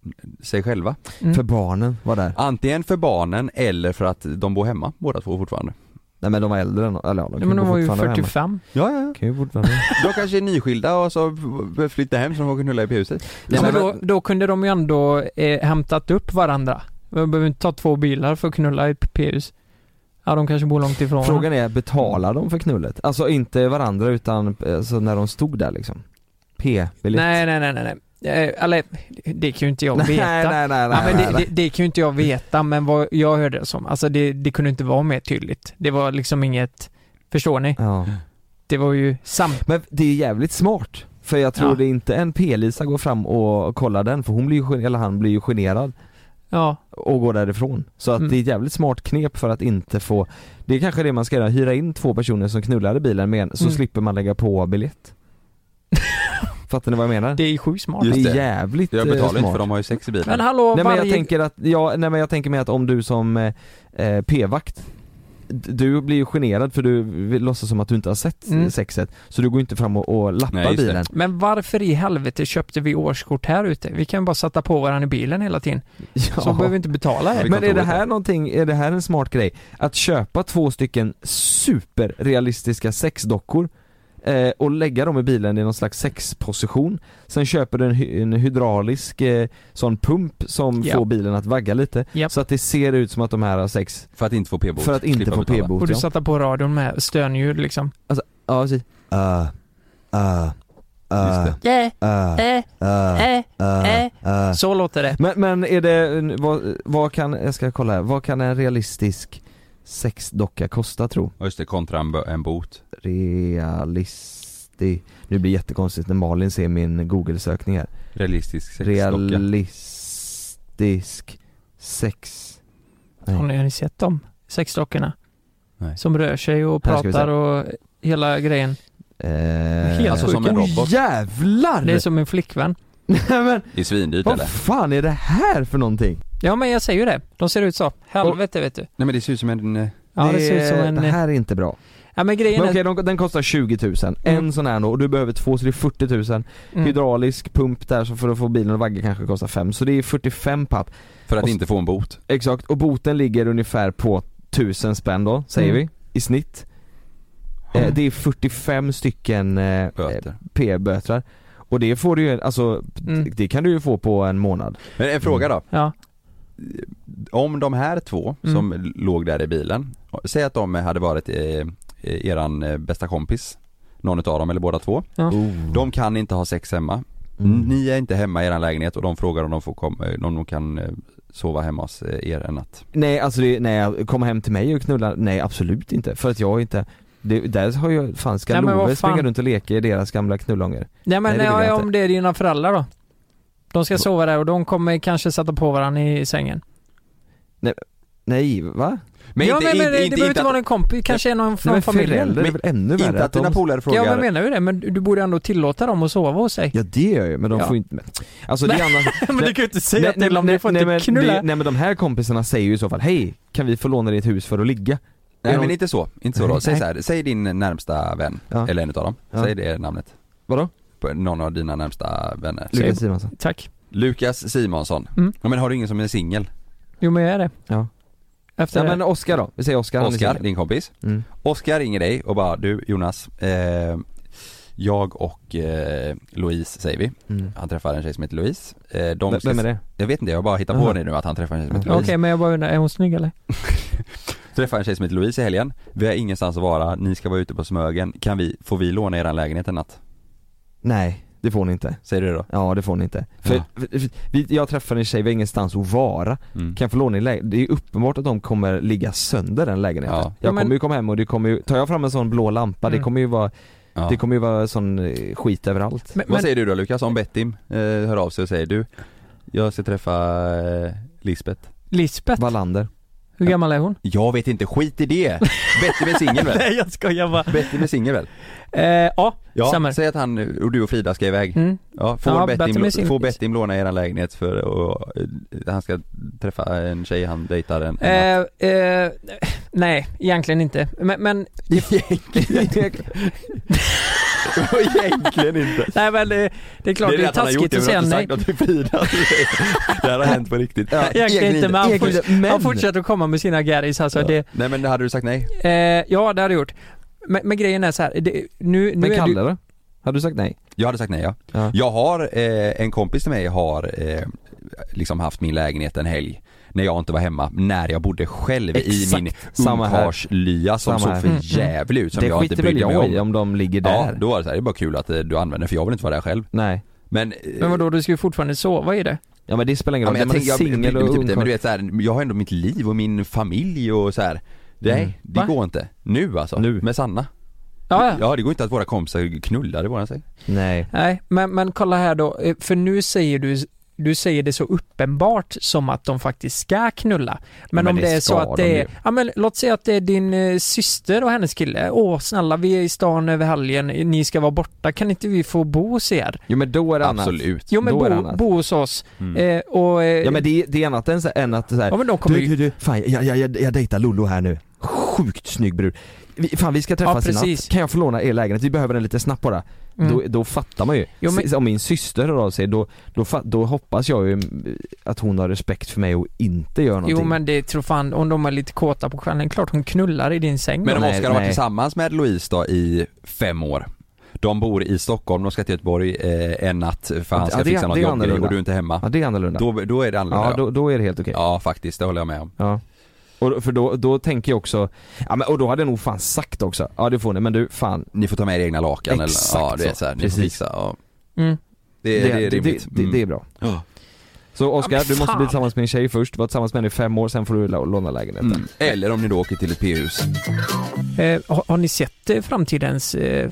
B: sig själva.
C: Mm.
A: För barnen var där.
B: Antingen för barnen eller för att de bor hemma båda två fortfarande.
A: Nej men de var äldre än, eller ja, de
C: men de var ju 45.
B: Ja, ja, ja.
A: Kan ju fortfarande vara hemma.
B: De kanske är nyskilda och så b- flyttar hem så de får knulla i P-huset.
C: Nej,
B: Nej,
C: men
B: men-
C: då, då kunde de ju ändå eh, hämtat upp varandra. De behöver inte ta två bilar för att knulla i ett p-hus. Ja, de kanske bor långt ifrån.
A: Frågan är, betalar de för knullet? Alltså inte varandra utan alltså, när de stod där liksom? P-biljett?
C: Nej, nej, nej, nej. nej. Eh, Eller, det kan ju inte jag
A: Nej,
C: veta.
A: nej, nej, nej,
C: ja, men
A: nej,
C: det,
A: nej.
C: Det, det kan ju inte jag veta, men vad jag hörde det som, alltså det, det kunde inte vara mer tydligt. Det var liksom inget, förstår ni?
A: Ja.
C: Det var ju sam...
A: Men det är jävligt smart. För jag tror
C: Ja.
A: det är inte en P-Lisa går fram och kollar den för hon blir ju, gen- eller han blir ju generad
C: Ja.
A: och går därifrån. Så att
C: Mm.
A: det är ett jävligt smart knep för att inte få Det är kanske det man ska göra, hyra in två personer som knullar i bilen med en, så
C: Mm.
A: slipper man lägga på biljett. Fattar ni vad jag menar?
C: Det är sjukt smart.
A: det är jävligt
B: Jag betalar
A: eh,
B: inte
A: smart.
B: för de har ju sex i bilen.
C: Men hallå,
A: nej, men jag
C: varje-
A: tänker att, ja, nej men jag tänker mig att om du som eh, eh, p-vakt d- du blir ju generad för du vill låtsas som att du inte har sett
C: Mm.
A: sexet så du går inte fram och, och lappar bilen.
C: Men varför i helvete köpte vi årskort här ute? Vi kan ju bara sätta på varandra i bilen hela tiden. Så behöver vi inte betala det.
A: Men är det här någonting, är det här en smart grej? Att köpa två stycken superrealistiska sexdockor eh, och lägga dem i bilen i någon slags sexposition. Sen köper du en, hy- en hydraulisk eh, sån pump som
C: Ja.
A: får bilen att vagga lite
C: Ja.
A: så att det ser ut som att de här har sex.
B: För att inte få p-bot.
A: För att inte
B: Slippa
A: få
B: betala.
A: p-bot
C: Och du
A: ja.
C: sätta på radion med stönljud liksom.
A: Alltså, ja precis. Uh, uh,
B: äh,
A: uh,
C: Just det.
H: äh,
A: uh,
C: Eh, eh,
A: uh,
C: eh.
A: uh.
C: Så låter det.
A: Men, men är det, vad, vad kan, jag ska kolla här, vad kan en realistisk sexdocka kosta tro?
B: Ja, Just det, kontra en, bö- en bot.
A: Realistisk, nu blir det jättekonstigt när Malin ser min google-sökning här
B: Realistisk sexdocka.
A: Realistisk sex
C: Har ni, har ni sett dem? Sexdockorna?
B: Nej.
C: Som rör sig och
A: Här ska vi
C: pratar
A: se.
C: och hela grejen.
A: eh,
C: Helt alltså som sjuka. en robot.
A: Åh, jävlar!
C: Det är som en flickvän.
A: men,
B: Det är svindyrt
A: vad
B: eller?
A: fan är det här för någonting?
C: Ja men jag säger ju det. De ser ut så. Helvete vet du.
B: Nej men det ser ut som en... eh,
C: Ja, det ser ut som en-
A: det här är inte bra
C: Ja men grejen
A: Men
C: är... Mm.
A: okej, de, den kostar 20 000, en sån här då, och du behöver två så det är 40 000 Hydraulisk pump där så för att få bilen att vagga kanske kostar 5, så det är 45 papp
B: För att
A: Och s-
B: inte få en bot.
A: Exakt, och boten ligger ungefär på 1000 spänn då, säger
B: Mm.
A: vi, i snitt
C: Mm.
A: eh, Det är 45 stycken eh,
B: Böter.
A: p-bötrar Och det får du ju, alltså,
C: Mm.
A: det kan du ju få på en månad
B: Men en fråga då.
C: Ja.
B: Om de här två
C: Mm.
B: som låg där i bilen, säg att de hade varit eh, eran eh, bästa kompis, någon utav dem eller båda två.
C: Ja.
A: Mm.
B: De kan Mm. inte ha sex hemma. Ni är inte hemma i eran lägenhet och de frågar om de, får komma, om de kan eh, sova hemma hos eh, er en natt?
A: Nej alltså det, nej, komma hem till mig och knulla, nej absolut inte. För att jag inte, det, där har jag, fan ska
C: Nej, men
A: Love
C: vad fan.
A: springa runt och leka i deras gamla knullånger?
C: Nej men
A: det vill jag
C: ja,
A: inte.
C: om det är dina föräldrar då? De ska sova där och de kommer kanske sätta på varandra i sängen.
A: Nej, nej va?
C: ja, men, men, det behöver inte vara en kompis, kanske är någon från familjen.
A: föräldrar är väl ännu värre
B: Inte att dina polare
C: Ja
B: frågar
C: men jag menar ju det, men du borde ändå tillåta dem att sova hos sig.
A: Ja det gör jag ju, men de
C: Ja.
A: får inte, men, alltså det är
C: Nej,
A: annars
C: men du kan ju inte säga till dem, ni får inte
A: men,
C: knulla.
A: det- Nej men de här kompisarna säger ju i så fall, hej kan vi få låna ditt hus för att ligga?
B: Nej
A: Är
B: men
A: de-
B: inte så, inte så då. Säg
A: Nej.
B: så här, säg din närmsta vän, eller en utav dem.
A: Ja.
B: Säg det namnet.
A: Vadå?
B: På någon av dina närmsta vänner.
A: Lukas
B: Säg-
A: Simonsson
C: Tack.
B: Lukas Simonsson.
C: Mm.
B: Ja men har du ingen som är singel?
C: Jo men jag är det.
A: Ja.
C: Efter
A: Nej
C: det.
A: men Oskar då, vi säger Oskar, han är
B: Oskar,
A: singel.
B: din kompis.
A: Mm.
B: Oskar ringer dig och bara, du Jonas, eh, jag och eh, Louise säger vi.
A: Mm.
B: Han träffar en tjej som heter Louise. Eh, de
A: Vem-
B: ska-
A: vem är det?
B: Jag vet inte, jag bara hittar på
A: Jaha.
B: det nu att han träffar en tjej som heter
C: Okej
B: Louise.
C: men jag bara undrar, är hon snygg eller?
B: Träffar en tjej som heter Louise i helgen. Vi har ingenstans att vara, ni ska vara ute på Smögen. Kan vi, får vi låna eran lägenhet en natt?
A: Nej, det får ni inte.
B: Säger du det då?
A: Ja det får ni inte. För,
B: Ja.
A: för- för- vi, jag träffade en tjej, vi har ingenstans att vara.
B: Mm.
A: Kan jag få låna din lägenhet? Det är ju uppenbart att de kommer ligga sönder den lägenheten. Jag
C: Ja, men-
A: kommer ju komma hem och det kommer ju, tar jag fram en sån blå lampa, det
C: Mm.
A: kommer ju vara
B: Ja.
A: Det kommer ju vara sån eh, skit överallt.
C: Men-
B: Vad säger du då Lukas om Bettim eh, hör av sig och säger du, jag ska träffa eh, Lisbeth.
C: Lisbeth?
A: Wallander.
C: Hur gammal är hon?
B: Jag vet inte, skit i det! Bettim är singel väl?
C: Nej jag skojar bara.
B: Bettim är singel väl?
C: Eh, ja,
B: Ja,
C: stämmer.
B: säg att han och du och Frida ska iväg.
C: Mm.
B: Ja, får,
C: Ja, Bettim är
B: Bettim,
C: singel.
B: får Bettim låna er lägenhet för och, eh, han ska träffa en tjej han dejtar en, en natt.
C: Eh, eh, nej, egentligen inte. Men, men
B: Egentligen inte.
C: nej men det, det är klart det är,
B: att han har gjort
C: taskigt att säga
B: men
C: nej.
B: han har inte sagt något till Frida. Det här har hänt på riktigt. Ja,
C: Egentligen inte, men han,
B: Egentligen
C: forts-
B: inte, men-
C: han fortsätter att komma med sina garris alltså. Det,
B: Nej men hade du sagt nej?
C: eh, ja, det har du gjort. Men, men grejen är så här, det, nu, nu
B: Men
C: är
B: Kalle
C: du...
A: då? Hade du sagt nej?
B: Jag hade sagt nej ja. Jag har, eh, en kompis till mig har eh, liksom haft min lägenhet en helg när jag inte var hemma, när jag bodde själv
A: Exakt.
B: i min
A: Samma här.
B: ungkarlslya som
A: Samma här.
B: såg
A: Mm,
B: för
A: mm.
B: jävligt ut som
A: Det
B: jag inte
A: skiter väl
B: brydde mig
A: jag
B: om.
A: i om de ligger
B: Ja,
A: där.
B: då var det så här, det är bara kul att eh, du använder för jag vill inte vara där själv.
A: Nej.
B: Men,
C: Men vadå, du ska ju fortfarande sova i det.
A: Ja men det spelar ingen roll,
B: Ja, men jag
A: man är
B: tänker, jag,
A: singel
B: jag,
A: och
B: typ det, men du
A: ungkarl.
B: vet så här, jag har ändå mitt liv och min familj och så här. Nej,
A: Mm.
B: det går inte. Nu alltså. Med Sanna.
C: Ja, ja.
B: Ja, det går inte att våra kompisar knullar, det vågar jag säga.
A: Nej.
C: Nej, men, men kolla här då. eh, För nu säger du, du säger det så uppenbart som att de faktiskt ska knulla. Men,
A: Men
C: om
A: det
C: det är
A: ska
C: så att
A: de
C: det
A: ju.
C: är, ja men låt säga att det är din eh, syster och hennes kille. Åh snälla, vi är i stan över helgen, ni ska vara borta, kan inte vi få bo hos er?
A: Jo men då är det annat.
B: Absolut.
C: Jo men
A: Då är det
C: bo,
A: annat.
C: bo hos oss.
A: Mm.
C: Eh, och, eh,
A: Ja men det, det är annat än, så, än att så här,
C: Ja, men de kommer
A: du,
C: ju-
A: du, du, fan jag, jag, jag, jag dejtar Lollo här nu. Sjukt snygg brud. Vi, fan vi ska träffas i
C: precis.
A: natt, kan jag få låna er lägenhet? Vi behöver den lite snabbt bara.
C: Mm.
A: Då, då fattar man ju.
C: Jo, men-
A: S- Om min syster hör av sig, då, då, fa- då hoppas jag ju mm, att hon har respekt för mig och inte gör någonting.
C: Jo men det tror fan, om de är lite kåta på kvällen, klart hon knullar i din säng.
B: Men
C: då.
B: om Oskar har varit tillsammans med Louise då i fem år. De bor i Stockholm, de ska till Göteborg eh, en natt för han ska
A: Ja, det-
B: fixa något
A: det är
B: jobbgrej
A: annorlunda.
B: och du är inte hemma.
A: Ja det är annorlunda.
B: Då, då är det annorlunda.
A: Ja, då, då är det helt okej.
B: ja faktiskt, det håller jag med om.
A: Ja. Och för då, då tänker jag också, ja men och då hade jag nog fan sagt också, ja det får ni men du fan
B: Ni får ta med er egna lakan
A: Exakt
B: eller ja, det är
A: så.
B: så här, ni får
A: Precis.
B: fixa. Ja.
C: Mm.
B: Det, det, är
A: det,
B: rimligt.
A: det, det,
B: Mm.
A: det är bra. Så Oskar,
B: Ja, men
A: du måste
B: fan.
A: bli tillsammans med en tjej först, vara tillsammans med henne i fem år, sen får du la- låna lägenheten.
B: Mm. Eller om ni då åker till ett p-hus.
C: Eh, har, har ni sett eh, framtidens eh,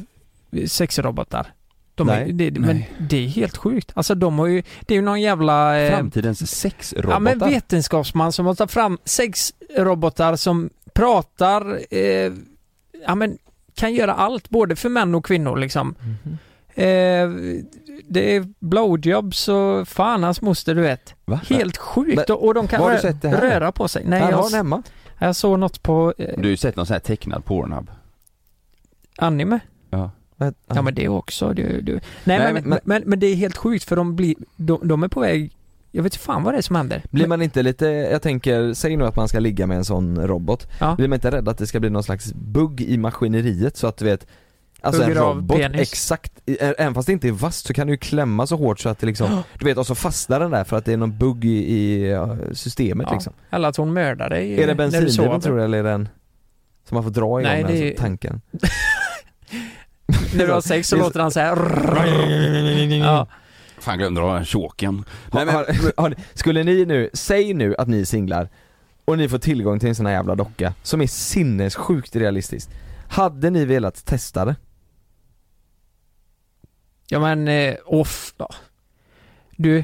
C: sexrobotar? De är,
B: Nej.
C: det, Men
B: Nej.
C: det är helt sjukt. Alltså de har ju, det är ju någon jävla... eh,
B: Framtidens sexrobotar.
C: Ja men vetenskapsman som har tagit fram sexrobotar som pratar, eh, ja men kan göra allt både för män och kvinnor liksom.
A: Mhm.
C: Eh, det är blowjobs och fan hans moster du vet.
B: Va?
C: Helt sjukt och, och de kan
A: Var har
C: rö-
A: du sett det här?
C: röra på sig. Nej,
A: Här
C: jag,
A: har den hemma.
C: jag såg något på eh,
B: Du har ju sett någon sån här tecknad Pornhub.
C: anime.
B: Ja.
C: Ja men det också, det, det. Nej,
A: Mm.
C: men,
A: Nej, men-
C: men, men, men det är helt sjukt för de blir, de, de är på väg, jag vet inte fan vad det är som händer.
A: Blir man inte lite, jag tänker, säg nu att man ska ligga med en sån robot,
C: Ja.
A: blir man inte rädd att det ska bli någon slags bugg i maskineriet så att du vet Alltså
C: Hugger
A: en
C: av
A: robot,
C: penis.
A: exakt, i- ä- även fast det inte är vasst så kan du ju klämma så hårt så att det liksom, du vet och så fastnar den där för att det är någon bugg i, i ja, systemet
C: Ja.
A: liksom
C: Eller att hon mördar dig eh,
A: Är det
C: när du sover.
A: bensinbilen tror du eller är den som man får dra igång
C: Nej,
A: den
C: det
A: det...
C: är-
A: tanken?
C: När du har sex så
A: Det är
C: låter han så här. Ja.
B: fan glömde du ha den choken?
A: Har, har, har, skulle ni nu, säg nu att ni är singlar och ni får tillgång till en sån här jävla docka som är sinnessjukt realistisk. Hade ni velat testa det?
C: Ja men, eh, off då. Du,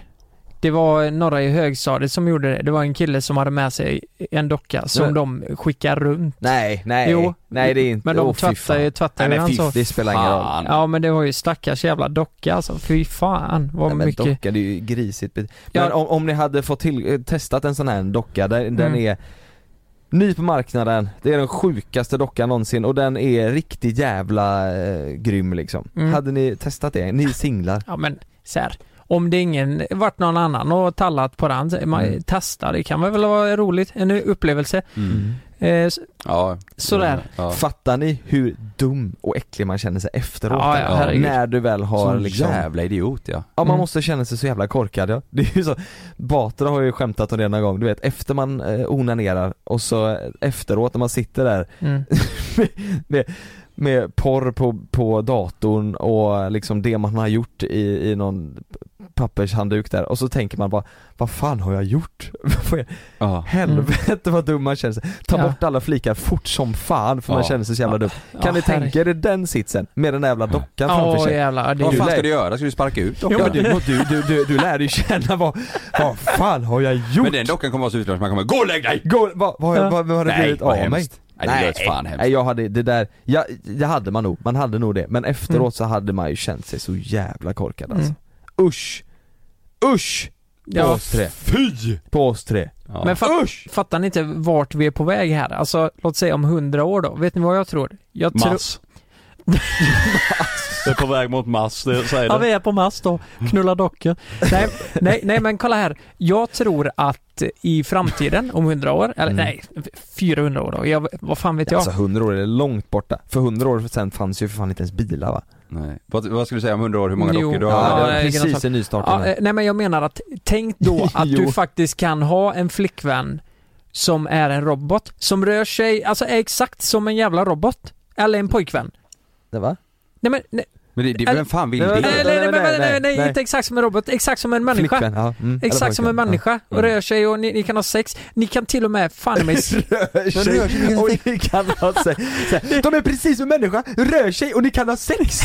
C: det var några i högstadiet som gjorde det. Det var en kille som hade med sig en docka som
A: Nej.
C: de skickar runt.
A: Nej, nej,
C: Jo.
A: nej det är inte,
C: Men de
A: åh, fy
C: tvättar ju,
A: fan.
C: tvättar ju
A: Nej, men
C: han
A: fy-
C: så.
A: Det spelar ingen roll.
C: Ja men det var ju stackars jävla docka alltså. Fy fan vad
A: Nej, men
C: mycket.
A: docka, det är ju grisigt. Men om, om ni hade fått till, eh, testat en sån här docka, där, den
C: Mm.
A: är ny på marknaden, det är den sjukaste dockan någonsin och den är riktigt jävla eh, grym liksom.
C: Mm.
A: Hade ni testat det? Ni singlar?
C: Ja men så här. Om det ingen, vart någon annan och tallat på den, så- man
A: Mm.
C: testar, det kan väl vara roligt, en upplevelse.
B: Mm.
C: Eh, så,
B: Ja.
C: sådär.
A: Fattar ni hur dum och äcklig man känner sig efteråt?
C: Ja, ja, herregud.
A: när du väl har
B: Sån
A: liksom
B: jävla idiot ja.
A: Ja man
B: Mm.
A: måste känna sig så jävla korkad ja. Det är ju så, Batra har ju skämtat om det någon gång, du vet efter man eh, onanerar och så efteråt när man sitter där
C: Mm.
A: med, med porr på, på datorn och liksom det man har gjort i, i någon pappershandduk där och så tänker man bara Vad fan har jag gjort? Vad är-
B: Mm.
A: Helvete vad dum man känner sig. Ta
C: Ja.
A: bort alla flikar fort som fan för man
B: Ja.
A: känner sig så jävla dum. Kan
C: Ja,
A: ni tänka er den sitsen med den där jävla dockan framför
C: Åh,
A: sig?
C: jävlar, det-
B: Vad fan
A: lär-
B: ska du göra? Ska du sparka ut
A: Ja, men
B: dockan?
A: du, du, du, du, du lär dig känna vad, vad fan har jag gjort?
B: Men den dockan kommer vara så utlöst man kommer 'Gå och lägg dig!'
A: Gå, vad, vad,
B: Ja.
A: vad, vad har det
B: Nej,
A: blivit
B: vad
A: av mig?
B: hemskt. Nej, det lät fan hemskt.
A: Nej jag hade, det där, ja, det hade man nog, man hade nog det. Men
C: Mm.
A: efteråt så hade man ju känt sig så jävla korkad alltså. Usch! Usch! På
C: Mm. Ja.
A: oss tre. Fy! På oss tre.
C: Men fa- fattar ni inte vart vi är på väg här? Alltså, låt säga om hundra år då. Vet ni vad jag tror? Jag tror...
B: Mass. Det är på väg mot mass, det säger
C: Ja, vi är på mass då. Knulla dockor. nej, nej, nej, men kolla här. Jag tror att i framtiden, om 100 år, eller
A: Mm.
C: nej, 400 år då. Jag, vad fan vet jag?
A: Alltså 100 år är långt borta. För 100 år sedan fanns ju för fan inte ens bilar va?
B: Nej. Vad, vad skulle du säga om 100 år, hur många dockor du har?
A: Ja, det
C: eh,
A: var precis
C: Grönsak.
A: en
C: Ja,
A: nystartning.
C: eh, nej men jag menar att, tänk då att
A: Jo.
C: du faktiskt kan ha en flickvän som är en robot, som rör sig, alltså är exakt som en jävla robot. Eller en pojkvän.
A: Det va?
C: Nej men, nej,
B: Men det, det, vem fan vill
C: eller,
B: det?
C: nej, nej, nej, nej, nej, inte exakt som en robot, exakt som en människa.
A: Flickvän, ja. Mm. Eller
C: Exakt som en
A: pojkvän, ja.
C: människa och rör sig och ni, ni kan ha sex. Ni kan till och med, fan i mig...
A: Rör sig och ni kan ha sex. Så här, De är precis som människa, rör sig och ni kan ha sex!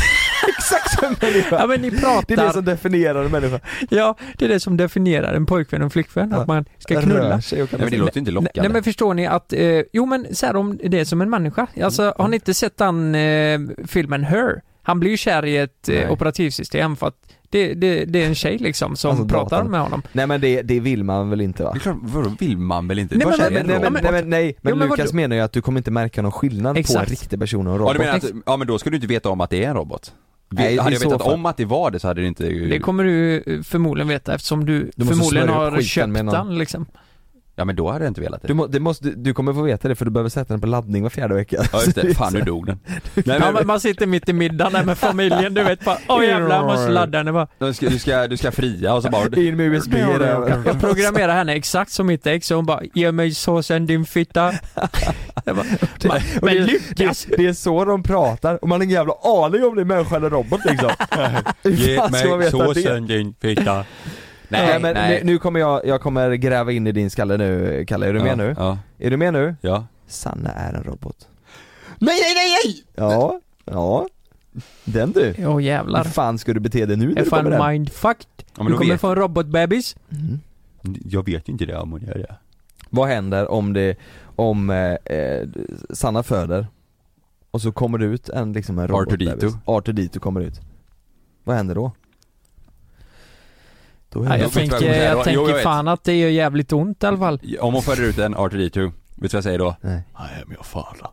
A: Exakt som människa!
C: Ja men ni pratar...
A: Det är det som definierar en människa.
C: Ja, det är det som definierar en pojkvän och en flickvän, att man ska
A: Rör
C: knulla.
A: sig och kan-
B: Nej, men det låter ju inte lockande.
C: Nej, nej men förstår ni att, eh, jo men så här, om det är som en människa.
A: Mm,
C: Alltså har ni inte sett den eh, filmen Her? Han blir ju kär i ett
A: Nej.
C: eh, operativsystem för att det, det, det är en tjej liksom som
A: Alltså,
C: pratar
A: datan.
C: med honom.
A: Nej men det, det vill man väl inte va?
B: Det är klart, vadå vill man väl inte?
A: Nej,
B: Vad
A: men, nej,
B: känner
A: men, nej,
B: en
A: men,
B: robot?
A: nej, men, nej, men
B: Jo, men
A: Lukas
B: vadå?
A: menar ju att du kommer inte märka någon skillnad
B: Exakt.
A: på en riktig person och en
B: Ja,
A: robot.
B: du menar att, ja men då ska du inte veta om att det är en robot?
A: Nej, i
B: Nej, hade jag
A: så
B: vetat
A: fall.
B: om att det var det så hade det inte...
C: Det kommer du eh, förmodligen veta eftersom du,
A: Du måste
C: förmodligen
A: smörja upp
C: har
A: skiten
C: köpt
A: med någon-
C: den liksom.
B: Ja men då hade jag inte velat det.
A: Du, må, det måste, du kommer få veta det för du behöver sätta den på laddning var fjärde vecka.
B: Ja just det, fan nu dog den. Nej,
C: ja,
B: men,
C: men man sitter mitt i middagen där med familjen, du vet bara åh jävlar, jag måste ladda den. Det är bara,
B: du, ska, du, ska, du ska fria och så bara...
A: In med USB.
C: Jag programmerar henne exakt som mitt ex och hon bara ge mig såsen din fitta. Jag bara, "Ma-
A: Och det,
C: men
A: är-
C: Lukas!
A: Det, det är så de pratar och man har ingen jävla aning om det är människa eller robot liksom. Hur fan ska man veta det?
B: din fitta.
A: Nej, men
B: nej.
A: Nu, nu kommer jag, jag kommer gräva in i din skalle nu Kalle, är du
B: Ja,
A: med nu?
B: ja.
A: Är du med nu?
B: Ja.
A: Sanna är en robot.
B: Nej nej nej nej!
A: Ja, ja. Den du.
C: Åh oh, jävlar.
A: Hur fan ska du bete dig nu när
C: Jag
A: du
C: är
A: kommer
C: fan
A: hem?
C: mindfucked.
A: men
C: du
A: då
C: kommer
A: vet-
C: få en robotbebis.
B: Jag vet ju inte det om hon gör det.
A: Vad händer om det, om eh, eh, Sanna föder och så kommer det ut en liksom en robot
B: R2D2.
A: bebis. R2D2 kommer ut. Vad händer då? då
C: Ja, jag tänker, jag tänker
B: Jo, jag vet.
C: fan att det gör jävligt ont i alla fall.
B: Om hon föder ut en R2D2, vet du vad jag säger då?
A: Nej.
B: I am your father.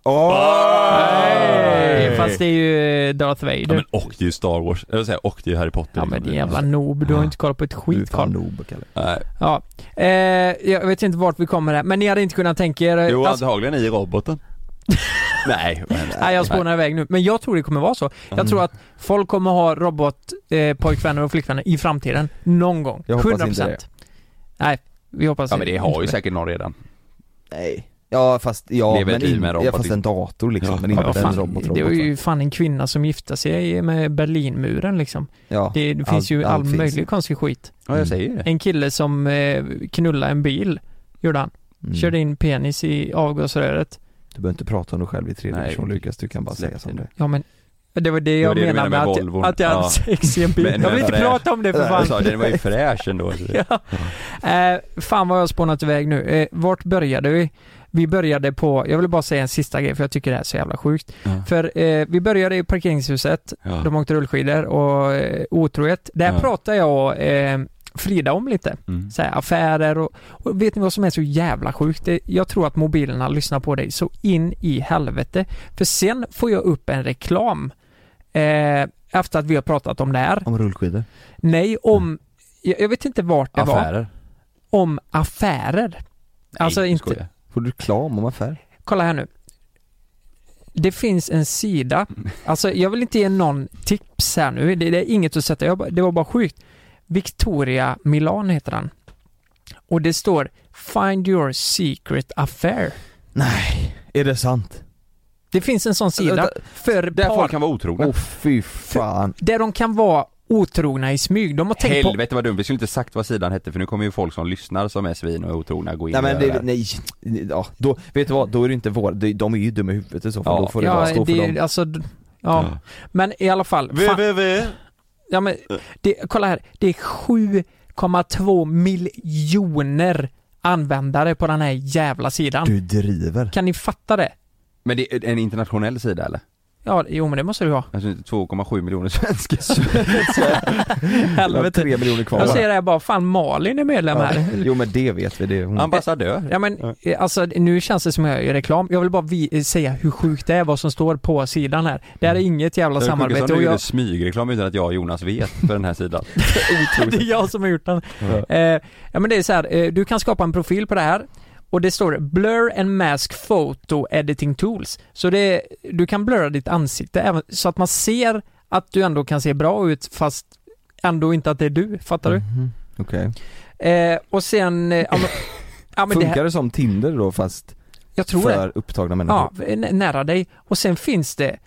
C: Nej, Fast det är ju eh, Darth Vader.
B: Ja,
C: Ja,
B: men och det är ju Star Wars, eller säga, och det är ju Harry Potter. Ja
C: men din jävla noob, du har inte koll på ett skit Carl.
A: noob Kalle.
B: Nej.
C: Ja. Eh, jag vet inte vart vi kommer här, men ni hade inte kunnat tänka er... eh,
B: Jo
C: alltså-
B: antagligen i roboten. nej. men-
C: Nej jag spånar iväg nu, men jag tror det kommer vara så. Jag
B: Mm.
C: tror att folk kommer ha robotpojkvänner eh, pojkvänner och flickvänner i framtiden. Någon gång.
A: Jag hoppas
C: 100%.
A: inte det.
C: Nej, vi hoppas
B: Ja men det
C: inte
B: har ju
C: det.
B: säkert någon redan.
A: Nej. Ja fast, ja
B: Lever ett
A: men
B: liv
A: in,
B: med en robot,
A: ja, fast
B: liksom.
A: en dator liksom, men
C: Ja,
A: inte en
C: fan,
A: robotrobot
C: det var
A: robot,
C: ju fan en kvinna som gifte sig med Berlinmuren liksom.
A: Ja,
C: det, det finns
A: allt-
C: ju all
A: allt finns.
C: möjlig konstig skit.
B: Ja, jag säger ju det.
C: En kille som eh, knullade en bil, gjorde han.
A: Mm.
C: Körde in penis i avgasröret.
A: Du behöver inte prata om dig själv i tredje
B: Nej.
A: person Lukas, du kan bara säga som det
C: Ja men, det var det
B: Det
C: jag
B: var det du
C: menade med,
B: menade med
C: att,
B: Volvon.
C: jag- att jag hade
B: Ja.
C: sex i en bil.
B: Men-
C: jag vill
B: men
C: inte
B: fräsch.
C: prata om det för
B: Nej,
C: fan.
B: jag sa, den var ju fräsch ändå.
C: ja. eh, fan vad jag har spånat iväg nu. Eh, vart började vi? Vi började på, jag vill bara säga en sista grej för jag tycker det här är så jävla sjukt.
B: Ja.
C: För eh, vi började i parkeringshuset,
B: Ja.
C: de åkte rullskidor och eh, otrohet. Där
B: Ja.
C: pratar jag eh, Frida om lite.
B: Mm.
C: Så här, affärer och, och vet ni vad som är så jävla sjukt? Det, jag tror att mobilerna lyssnar på dig så in i helvete. För sen får jag upp en reklam eh, efter att vi har pratat om det här.
A: Om rullskidor?
C: Nej,
B: Mm.
C: om, jag, jag vet inte vart det
A: Affärer.
C: var. Om affärer. Alltså inte,
A: Får du reklam om affär?
C: kolla här nu. Det finns en sida,
A: Mm.
C: alltså jag vill inte ge någon tips här nu, det, det är inget att sätta, jag, bara- det var bara sjukt. Victoria Milan heter den. Och det står Find your secret affair.
A: Nej, är det sant?
C: Det finns en sån sida
A: Vänta,
C: för
A: där
C: par,
A: folk
B: kan vara otrogna.
A: Åh fy fan.
C: där de kan vara otrogna i smyg. De har tänkt på
B: Helvete vad dumt, vi skulle inte sagt vad sidan hette för nu kommer ju folk som lyssnar som är svin och är otrogna gå in
A: Nej men
B: och
A: det,
B: göra här.
A: nej, ja, då, vet du vad, då är det inte vår, de, de är ju dumma i huvudet i så fall,
B: Ja.
A: då får det bara stå för
C: det,
A: dem
C: Alltså, d- ja.
A: Ja.
C: men i alla fall. fan- Ja men, det, kolla här. Det är 7,2 miljoner användare på den här jävla sidan.
A: Du driver
C: Kan ni fatta det?
B: Men det är en internationell sida eller?
C: Ja, jo men det måste du ha.
B: Alltså 2,7 miljoner svenskar
A: Helvete Tre miljoner kvar
C: Jag säger det här bara, fan Malin är medlem här.
A: Jo men det vet vi, det är hon
B: Ambassadör
C: Ja men eh, alltså nu känns det som jag gör reklam. Jag vill bara vi- eh, säga hur sjukt det är vad som står på sidan här. Det här är inget jävla
B: Mm. Det är sjukt
C: samarbete.
B: som
C: och
B: du
C: jag-
B: gjorde smygreklam utan att jag och Jonas vet för den här sidan
C: det är jag som har gjort den. Eh, ja men det är så här, eh, du kan skapa en profil på det här och det står Blur and Mask Photo Editing Tools. Så det, du kan blurra ditt ansikte även, så att man ser att du ändå kan se bra ut fast ändå inte att det är du, fattar du?
A: Okej
C: Eh, och sen, eh, ja, men, ja, men det
A: Mm. Funkar
C: här,
A: det som Tinder då fast
C: jag tror
A: för
C: det.
A: upptagna
C: Ja,
A: människor?
C: n- nära dig. Och sen finns det,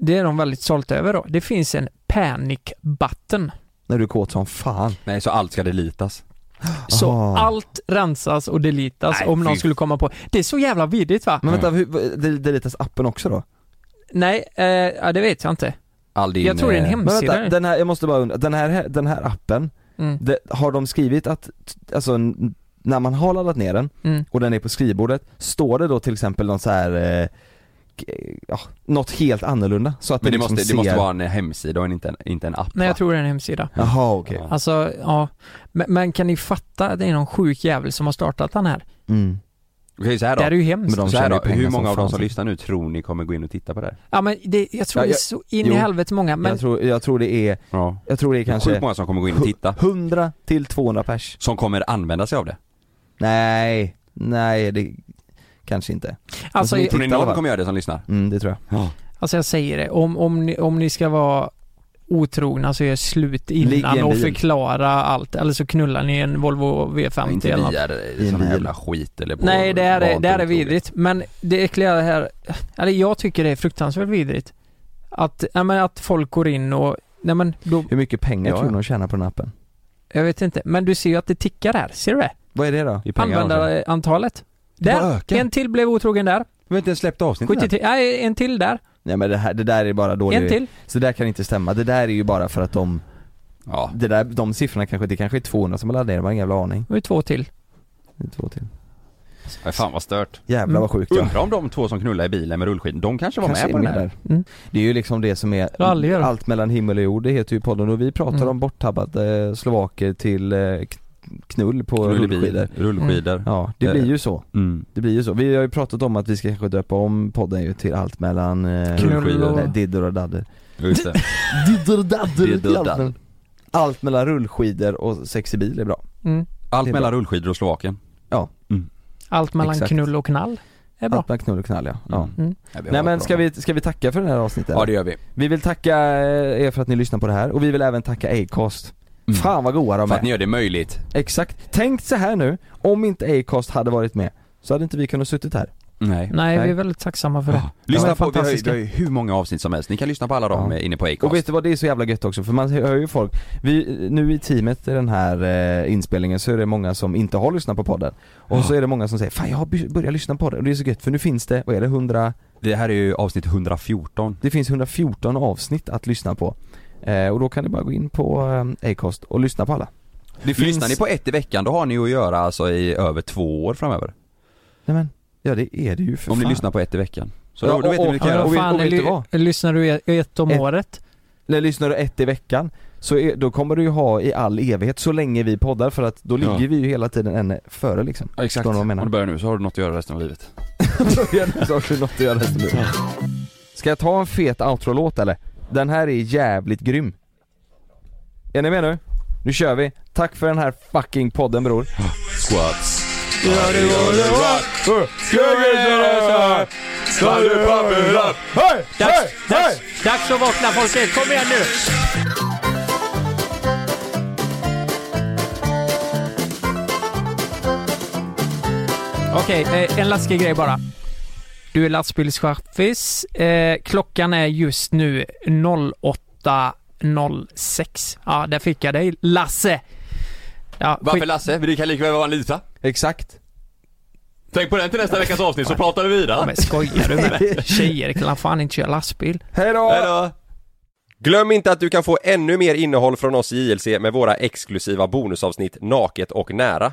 C: det är de väldigt stolta över då, det finns en panic button.
A: När du är kåt som fan
B: Nej så allt ska delitas
C: Så
A: Ah.
C: allt rensas och deletas
A: Nej,
C: om någon
A: fy.
C: skulle komma på. Det är så jävla vidrigt va?
A: Men vänta, hur, vad- del- deletas appen också då?
C: Nej, eh, ja, det vet jag inte.
B: All din,
C: Jag tror det är en
B: eh,
C: hemsida.
A: Men vänta, den här, jag måste bara undra, den här, den här appen,
C: Mm.
A: det, har de skrivit att, alltså n- när man har laddat ner den
C: Mm.
A: och den är på skrivbordet, står det då till exempel någon så här eh, k- ja, något helt annorlunda så att
B: Men det
A: liksom
B: måste,
A: ser...
B: det måste vara en hemsida och inte en, inte en app
C: Nej, jag
B: va?
C: tror det är en hemsida.
A: Jaha okej,
C: Alltså, ja. Men, men kan ni fatta att det är någon sjuk jävel som har startat den här?
A: mm.
B: Okej så här då,
C: Det här är ju hemskt.
A: Men de
B: så här
A: tjänar
B: då
A: ju pengar
B: hur
A: som
B: många av de
A: fan,
B: som
A: så.
B: lyssnar nu tror ni kommer gå in och titta på det här?
C: Ja men det, jag tror
A: Ja,
C: det är
A: jag-
C: så in
A: jo.
C: i helvete många, men
A: jag, tror, jag tror det är,
B: Ja
A: jag tror det är kanske
B: Sjukt många som kommer gå in och titta
A: 100 till 200 pers
B: Som kommer använda sig av det
A: Nej, nej det kanske inte
C: Alltså,
A: Men som
B: Tror ni
A: tittar i alla
B: någon
A: fall.
B: kommer göra det som lyssnar?
A: Mm det tror jag
C: alltså jag säger det, om, om, ni, om ni ska vara otrogna så gör slut
A: Ligg i
C: innan
A: en
C: och
A: bil.
C: förklara allt, eller så knullar ni en Volvo V50
B: Inte
C: eller något.
B: via eh, sån här jävla skit eller på
C: Nej det här är,
B: vanligt
C: det här är
B: otroligt.
C: vidrigt men det äckliga här, eller jag tycker det är fruktansvärt vidrigt. Att, nej men att folk går in och, nej men då,
A: Hur mycket pengar
B: Ja,
A: tror
B: ja.
A: du de tjänar på den appen?
C: jag vet inte, men du ser ju att det tickar här, ser du det?
A: Vad är det då?
B: Det är pengar de tjänar.
C: Användarantalet.
A: bara
C: Där,
A: ökar.
C: en till blev otrogen där.
B: Vi har inte ens släppt avsnittet än.
C: 73, nej en till där.
A: Nej men det, här, det där är bara dålig
C: En till.
A: Så det där kan inte stämma, det där är ju bara för att de
B: Ja,
A: Det där, de siffrorna kanske, det kanske är 200 som har laddat ner, man har ingen jävla aning
C: Det var ju två till.
A: Det är Två till
B: Nej, fan vad stört.
A: Jävlar vad sjukt ja
B: Mm. Undrar om de två som knullar i bilen med rullskidor, de kanske var
A: Kanske
B: med på
A: är
B: den här?
A: där.
C: Mm.
A: Det är ju liksom det som är
C: har aldrig gjort.
A: allt mellan himmel och jord, det heter ju podden och vi pratar
C: Mm.
A: om borttabbade slovaker till eh, k- knull på
B: Knull i bil,
A: rullskidor Mm.
B: Rullskidor.
A: Ja, det
B: Eh.
A: blir ju så.
B: Mm.
A: Det blir ju så. Vi har ju pratat om att vi ska kanske döpa om podden ju till allt mellan eh,
B: Knull och-
A: nej, Didder och Dadder
B: Just det.
A: Didder och Dadder!
B: Didder och dadder.
A: Allt mellan rullskidor och sex i bil är bra
C: Mm.
B: Allt
A: Det är
B: mellan rullskidor och Slovakien. Mm.
A: Ja,
C: Allt mellan
A: Exakt.
C: knull och knall. Är bra.
A: allt mellan knull och knall ja, ja.
B: Mm. vi har
A: Nej men
B: ett
A: ska
B: bra-
A: vi, ska vi tacka för det här avsnittet?
B: Ja det gör vi.
A: Vi vill tacka eh, er för att ni lyssnar på det här och vi vill även tacka Acast
B: Mm.
A: Fan vad goa de
B: För att ni
A: är!
B: gör det möjligt.
A: Exakt, tänk så här nu, om inte Acast hade varit med så hade inte vi kunnat suttit här.
B: Nej.
C: Nej, vi är väldigt tacksamma för det.
B: Lyssna
C: Det var
B: på, vi har, ju-
C: fantastiska.
B: vi har ju hur många avsnitt som helst. Ni kan lyssna på alla dem eh, inne på Acast.
A: Och vet du vad, det är så jävla gött också för man hör ju folk, vi, nu i teamet i den här eh, inspelningen så är det många som inte har lyssnat på podden Och så är det många som säger 'Fan jag har by- börjat lyssna på det' och det är så gött för nu finns det, vad är det, 100?
B: Det här är ju avsnitt 114
A: Det finns 114 avsnitt att lyssna på eh, Och då kan ni bara gå in på eh, Acast och lyssna på alla
B: Det Lyssnar ni på ett i veckan, då har ni att göra alltså i över två år framöver.
A: Nej men, ja det är det ju för
B: Om ni
A: fan.
B: lyssnar på ett i veckan. Så
A: Ja,
B: då, då vet ni
A: och-
B: vad ni kan
A: och-
B: göra.
A: och vet- och vet du
C: Ly-
A: vad?
C: Lyssnar du ett- ett om
A: Ett-
C: året?
A: Eller lyssnar du ett i veckan så är, då kommer du ju ha i all evighet så länge vi poddar för att då
B: Ja.
A: ligger vi ju hela tiden en före liksom
B: Ja, exakt.
A: Förstår ni vad jag
B: Om
A: menar?
B: du börjar nu så har du något att göra resten av livet.
A: Så har du något att göra resten av livet. Ska jag ta en fet outro-låt eller? Den här är jävligt grym Är ni med nu? Nu kör vi, tack för den här fucking podden bror
B: Squats
A: Gör det, gör det, rock! Ska vi göra så här? Ska du papper upp? Hej!
C: Dags, dags, dags att vakna folket! Kom igen nu! Okej, eh, en läskig grej bara. Du är lastbilschaffis. Eh, klockan är just nu 08.06. Ja, där fick jag dig Lasse! Ja,
B: Varför
C: skit-
B: Lasse? Det kan lika väl vara en Lisa.
A: Exakt.
B: Tänk på den till nästa veckas avsnitt så pratar vi vidare.
C: Men skojar du med mig? Tjejer kan fan inte köra lastbil.
A: Hejdå!
I: Hejdå! Glöm inte att du kan få ännu mer innehåll från oss i JLC med våra exklusiva bonusavsnitt Naket och nära.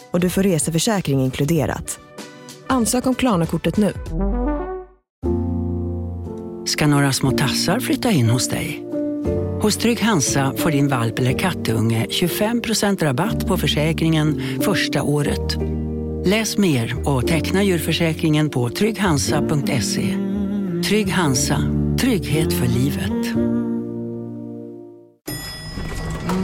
J: och du får reseförsäkring inkluderat. Ansök om Klarna-kortet nu.
K: ska några små tassar flytta in hos dig. Hos Trygg Hansa får din valp eller kattunge 25% rabatt på försäkringen första året. Läs mer och teckna djurförsäkringen på trygghansa.se. E. Trygg Hansa, trygghet för livet.